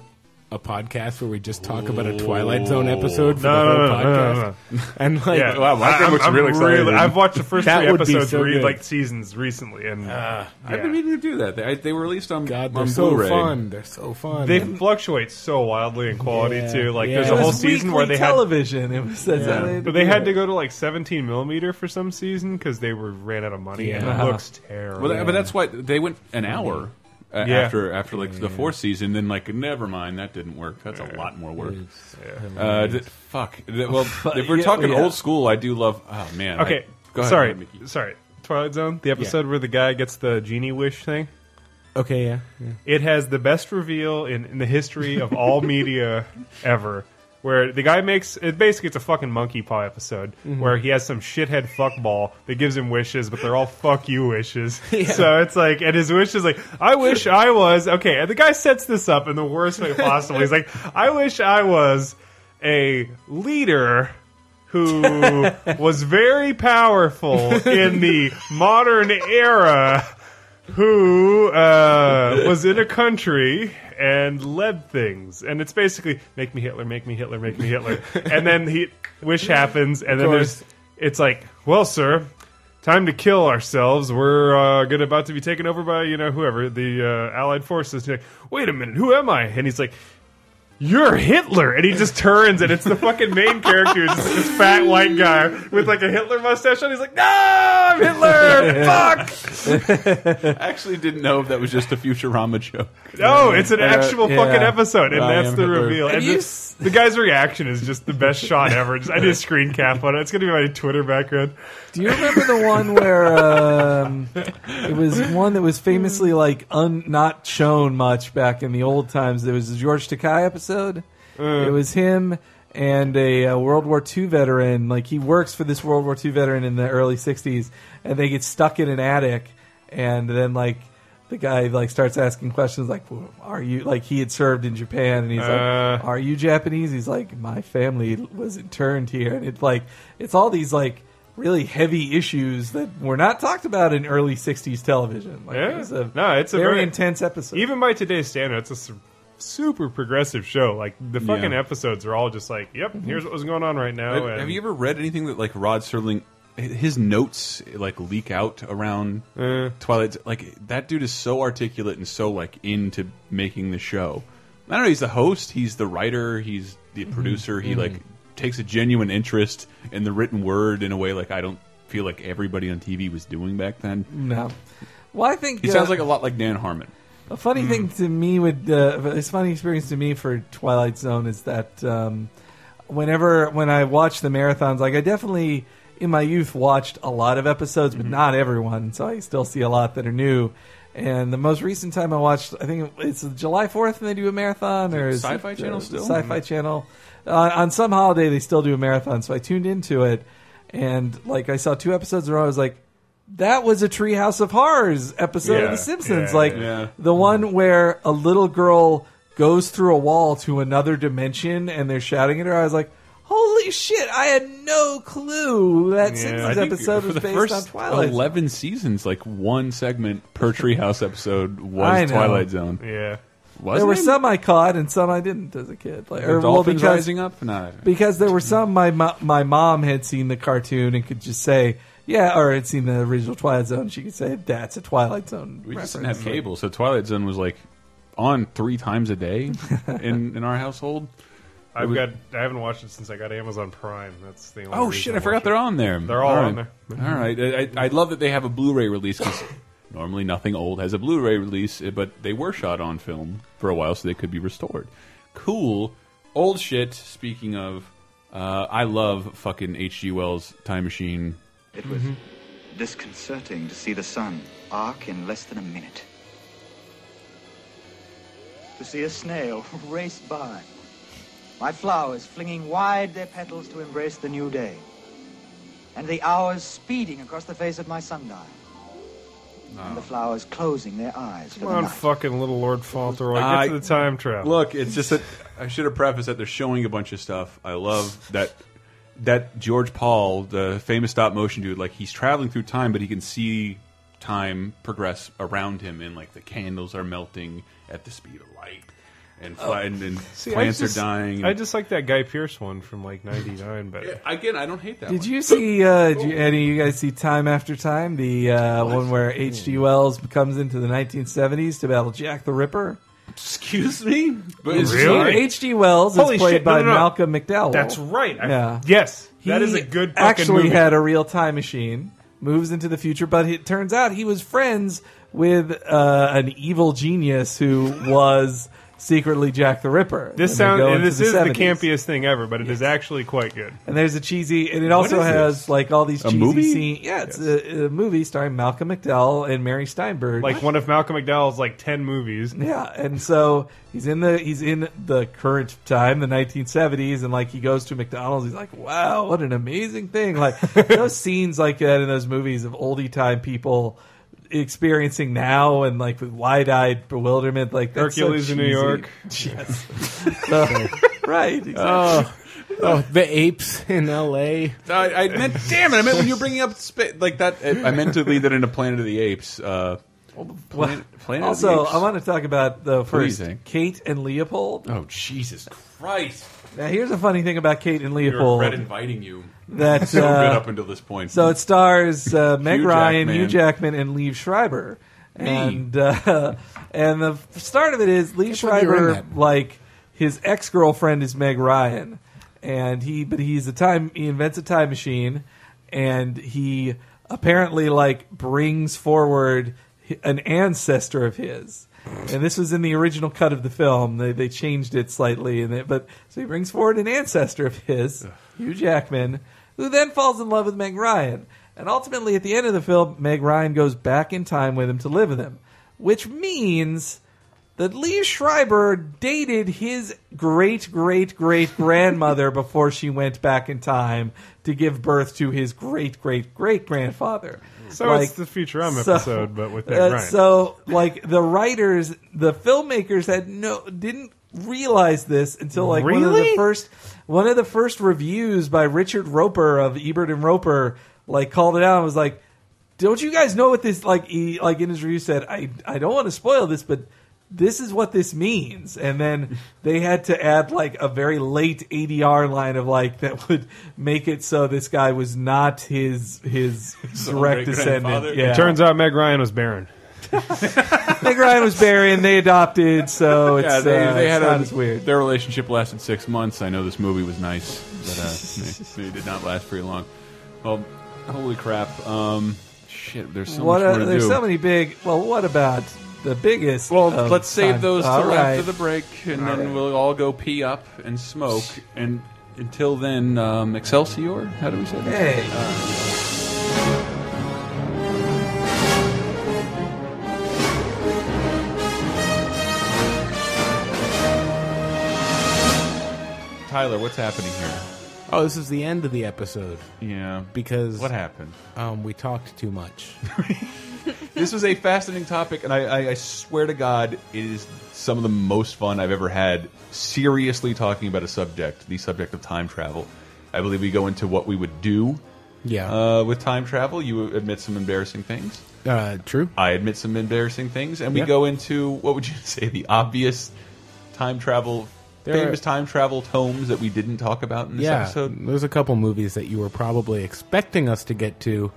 a podcast where we just talk about a Twilight Zone episode for No, the whole no, no, no, podcast. no, no. And like, yeah. I- I'm, I'm I've watched the first That three would be episodes, so read good. like seasons recently, and I've been meaning to do that. They, they were released on God, on they're so Blu-ray. fun. They're so fun. They man. fluctuate so wildly in quality Yeah, too. Like yeah. there's It a whole was season where weekly they had television. It was- that's how they had to but they do had it. to go to like 17 millimeter for some season because they were ran out of money and it looks terrible. Well, that- but that's why they went an hour uh, Mm-hmm. Yeah. after after like the fourth season. Then like, never mind, that didn't work. That's a lot more work. Uh, th- fuck. Th- Well, if we're Yeah, talking yeah. old school, I do love. Oh man. I- okay. go ahead. sorry, Mickey. sorry. Twilight Zone, the episode where the guy gets the genie wish thing. Okay, yeah. yeah. It has the best reveal in, in the history of all media ever. Where the guy makes it basically it's a fucking monkey paw episode Mm-hmm. Mhm. where he has some shithead fuckball that gives him wishes, but they're all fuck you wishes. So it's like, and his wish is like, I wish I was okay. And the guy sets this up in the worst way possible. He's like, I wish I was a leader who was very powerful in the modern era who uh, was in a country and led things. And it's basically make me Hitler, make me Hitler, make me Hitler. And then he wish happens, and then course. there's it's like, well, sir. Time to kill ourselves. We're uh, good about to be taken over by you know whoever the uh, Allied forces. He's like, Wait a minute, who am I? And he's like, "You're Hitler." And he just turns, and it's the fucking main character, it's this fat white guy with like a Hitler mustache, and he's like, "No, I'm Hitler. Fuck." I actually didn't know if that was just a Futurama joke. No, Oh, it's an Uh, actual yeah. fucking episode, and I that's am the Hitler. reveal. And the, the guy's reaction is just the best shot ever. Just, I did a screen cap on it. It's gonna be my Twitter background. Do you remember the one where um, it was one that was famously like un, not shown much back in the old times? There was the George Takai episode. Mm. It was him and a, uh World War II veteran. Like he works for this World War II veteran in the early '60s, and they get stuck in an attic, and then like. The guy like starts asking questions like, "Well, "Are you like he had served in Japan?" And he's Uh. like, "Are you Japanese?" He's like, "My family was interned here," and it's like it's all these like really heavy issues that were not talked about in early '60s television. Like, it yeah, was a no, it's a very very, intense episode. Even by today's standard, it's a su- super progressive show. Like the Yeah. Mm-hmm. fucking episodes are all just like, "Yep, here's what was going on right now." Oh, Have, and- have you ever read anything that like Rod Serling, his notes like leak out around Eh. Twilight? Z- Like that dude is so articulate and so like into making the show. I don't know. He's the host. He's the writer. He's the Mm-hmm. producer. He Mhm. like takes a genuine interest in the written word in a way like I don't feel like everybody on TV was doing back then. No. Well, I think He uh, sounds like a lot like Dan Harmon. A funny thing Hmm. to me with uh, it's a funny experience to me for Twilight Zone is that um, whenever when I watch the marathons, like I definitely Mm-hmm. in my youth watched a lot of episodes, but not everyone. So I still see a lot that are new. And the most recent time I watched, I think it's July 4th, and they do a marathon. Or is Sci-Fi it, uh, Channel still? Sci-Fi Channel. Uh, on some holiday, they still do a marathon. So I tuned into it, and like I saw two episodes in a row. I was like, that was a Treehouse of Horrors episode Yeah, of The Simpsons. yeah, like yeah. the one where a little girl goes through a wall to another dimension, and they're shouting at her. I was like. Holy shit! I had no clue that I Simpsons think episode for was the based first on Twilight. Eleven seasons, like one segment per Treehouse episode I was know. Twilight Zone. Yeah. was there were it? some I caught and some I didn't as a kid. Like, The dolphins rising up? No. because there were some my mo- my mom had seen the cartoon and could just say yeah, or had seen the original Twilight Zone. She could say that's a Twilight Zone. We just didn't reference. have cable, so Twilight Zone was like on three times a day in in our household. It I've was- got. I haven't watched it since I got Amazon Prime. That's the only. Oh reason shit! I I forgot watch they're it. on there. Mm-hmm. They're all on right. there. All right. I, I I love that they have a Blu-ray release 'cause normally nothing old has a Blu-ray release, eh, but they were shot on film for a while, so they could be restored. Cool. Old shit. Speaking of, uh, I love fucking H.G. Wells' Time Machine. It was disconcerting to see the sun arc in less than a minute. To see a snail race by. My flowers flinging wide their petals to embrace the new day. And the hours speeding across the face of my sundial. And the flowers closing their eyes for Come the on, night. fucking little Lord Fauntleroy, get I- to the time travel. Look, it's just that I should have prefaced that they're showing a bunch of stuff. I love that that George Paul, the famous stop motion dude, like he's traveling through time, but he can see time progress around him, and like the candles are melting at the speed of light, and fly, and, and Oh, See, I plants just- are dying. and- I just like that Guy Pierce one from like '99 better. again, I don't hate that. Did one. you see uh, did you, Eddie? You guys see Time After Time, the uh, one where Hmm. H.G. Wells comes into the 1970s to battle Jack the Ripper. Excuse me, but Really? H.G. Wells Holy is played shit, no, by no, no. Malcolm McDowell. That's right. I- yeah. Yes, that is a good fucking actually movie. had a real time machine. Moves into the future, but it turns out he was friends with uh, an evil genius who was secretly Jack the Ripper. This And they go sound. into This is the 70s. campiest thing ever, but it is actually quite good. And there's a cheesy, and it What also is has this? like all these A cheesy movie? scenes. Yeah, it's a, a movie starring Malcolm McDowell and Mary Steinberg. Like one of Malcolm McDowell's like ten movies. Yeah, and so he's in the he's in the current time, the 1970s, and like he goes to McDonald's. He's like, "Wow, what an amazing thing!" Like those scenes like that in those movies of oldie time people experiencing now, and like with wide eyed bewilderment. Like that's so Hercules in New cheesy. York. Yes. So- right. Exactly. Oh, oh, the apes in L.A. I, I meant, damn it! I meant when you were bringing up spa like that. I meant to lead that into Planet of the Apes. Uh, Planet, Planet of the also, Apes. I want to talk about the What do you first think? Kate and Leopold. Oh Jesus Christ! Now, here's a funny thing about Kate and You Leopold. regret inviting you. That's So good uh, up until this point. So it stars uh, Meg Hugh Ryan, Jackman. Hugh Jackman, and Lee Schreiber. Me. And uh, and the f- start of it is Lee believe you were in Schreiber, like his ex girlfriend is Meg Ryan, and he but he's a time he invents a time machine, and he apparently like brings forward hi- an ancestor of his. And this was in the original cut of the film. They, they changed it slightly, and it, but so he brings forward an ancestor of his, Hugh Jackman, who then falls in love with Meg Ryan. And ultimately, at the end of the film, Meg Ryan goes back in time with him to live with him, which means that Lee Schreiber dated his great great great grandmother before she went back in time to give birth to his great great great grandfather. uh, So it's the Futurama episode, but with Meg Ryan. So, like the writers, the filmmakers had no didn't realize this until like one of the Really? first one of the first reviews by Richard Roper of Ebert and Roper like called it out and was like, "Don't you guys know what this like?" He like in his review said, "I I don't want to spoil this, but." This is what this means, and then they had to add like a very late ADR line of like that would make it so this guy was not his his own direct great-grandfather? descendant. It turns out Meg Ryan was barren. Meg Ryan was Barry, and they adopted, so it's, yeah, they, uh, they it's had not a, as weird. Their relationship lasted six months. I know this movie was nice, but uh, it did not last very long. Well, holy crap! Um, shit, there's so what much a- more to there's do. so many big. Well, what about the biggest? well, of let's save time- those till All right. after the break, and All then right. we'll all go pee up and smoke. And until then, um, Excelsior. How do we say that? Hey. Uh, Tyler, what's happening here? Oh, this is the end of the episode. Yeah. Because What happened? Um, we talked too much. this was a fascinating topic, and I, I, I swear to God, it is some of the most fun I've ever had seriously talking about a subject, the subject of time travel. I believe we go into what we would do Yeah. uh, with time travel. You admit some embarrassing things. Uh, true. I admit some embarrassing things, and we Yeah. go into what would you say the obvious time travel, There are- famous time travel tomes that we didn't talk about in this yeah. episode. There's a couple movies that you were probably expecting us to get to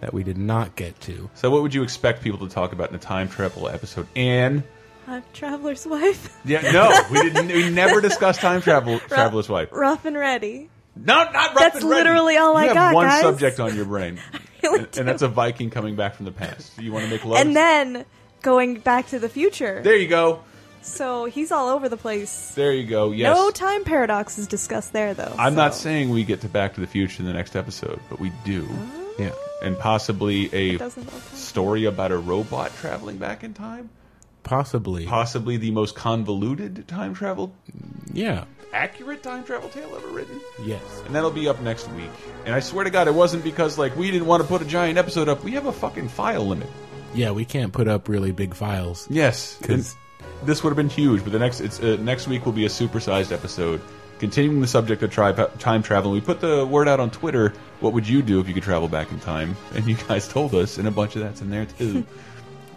that we did not get to. So, what would you expect people to talk about in a time travel episode? And I'm Traveler's Wife. yeah, no, we didn't. We never discussed time travel. Traveler's wife. Rough and ready. No, not rough That's and ready. literally all you I have got, One guys. subject on your brain, and, and that's a Viking coming back from the past. You want to make love? And then going back to the future. there you go. So he's all over the place. There you go. Yes. No time paradox is discussed there, though. I'm not saying we get to Back to the Future in the next episode, but we do. Yeah. And possibly It a doesn't all count. story about a robot traveling back in time. Possibly. Possibly the most convoluted time travel, Yeah. accurate time travel tale ever written. Yes. And that'll be up next week. And I swear to God, it wasn't because, like, we didn't want to put a giant episode up. We have a fucking file limit. Yeah, we can't put up really big files. Yes. 'Cause- and This would have been huge, but the next it's uh, next week will be a supersized episode, continuing the subject of tri time travel. We put the word out on Twitter. What would you do if you could travel back in time? And you guys told us, and a bunch of that's in there too.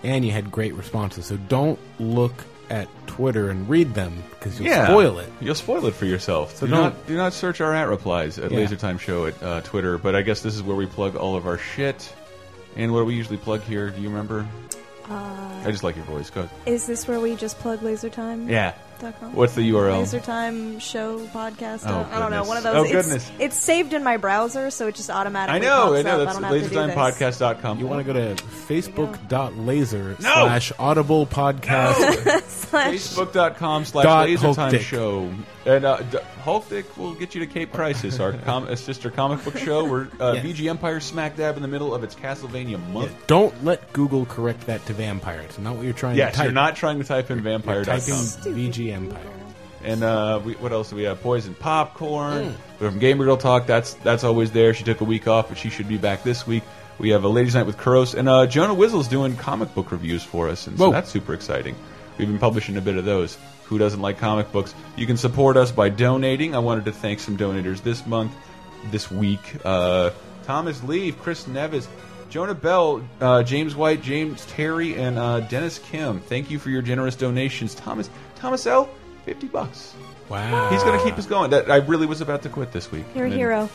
And you had great responses. So don't look at Twitter and read them because you'll yeah, spoil it. You'll spoil it for yourself. So do don't- not do not search our at replies at Yeah. LaserTime Show at uh, Twitter. But I guess this is where we plug all of our shit. And what do we usually plug here? Do you remember? Uh, I just like your voice. Go. ahead. Is this where we just plug lasertime? Yeah. Dot com? What's the URL? Lasertime show podcast. Oh, uh, I don't know. goodness. One of those. Oh, it's, goodness. It's saved in my browser, so it just automatically. I know. I pops know. Up. That's I don't have to do this. lasertimepodcast.com. You want to go to facebook.laser No! slash audible podcast. Facebook.com slash Dot LaserTime Hulk Show. And uh, D- Hulk Dick will get you to Cape Crisis, our com uh, sister comic book show. We're uh, Yes. VG Empire smack dab in the middle of its Castlevania month. Don't let Google correct that to vampire. It's not what you're trying Yes, to type. you're not trying to type in You're vampire.com. typing VG Empire. And uh, we, what else do we have? Poison popcorn. We're from Gamer Girl Talk. That's that's always there. She took a week off, but she should be back this week. We have a ladies' night with Kuros, and uh, Jonah Wizzle's doing comic book reviews for us, and so Whoa. that's super exciting. We've been publishing a bit of those. Who doesn't like comic books? You can support us by donating. I wanted to thank some donators this month, this week. Uh, Thomas Leave, Chris Nevis, Jonah Bell, uh, James White, James Terry, and uh, Dennis Kim. Thank you for your generous donations, Thomas. Thomas L, fifty bucks. Wow. He's going to keep us going. That I really was about to quit this week. You're a And then hero.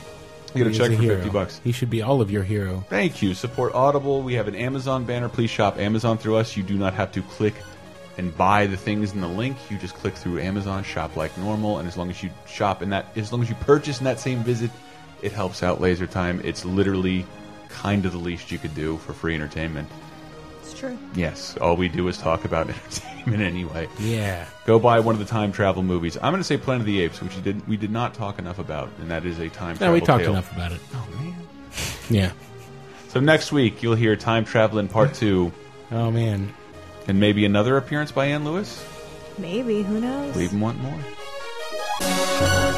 You get a He's check for hero. fifty bucks. He should be all of your hero. Thank you. Support Audible. We have an Amazon banner. Please shop Amazon through us. You do not have to click and buy the things in the link. You just click through Amazon, shop like normal, and as long as you shop in that, as long as you purchase in that same visit, it helps out Laser Time. It's literally kind of the least you could do for free entertainment. It's true. Yes, all we do is talk about entertainment anyway. Yeah. Go buy one of the time travel movies. I'm going to say Planet of the Apes, which you did, we did not talk enough about, and that is a time No, travel. we talked tale. enough about it. Oh man. Yeah. So next week you'll hear time travel in part two, Oh man. and maybe another appearance by Ann Lewis. Maybe. Who knows? We even want more.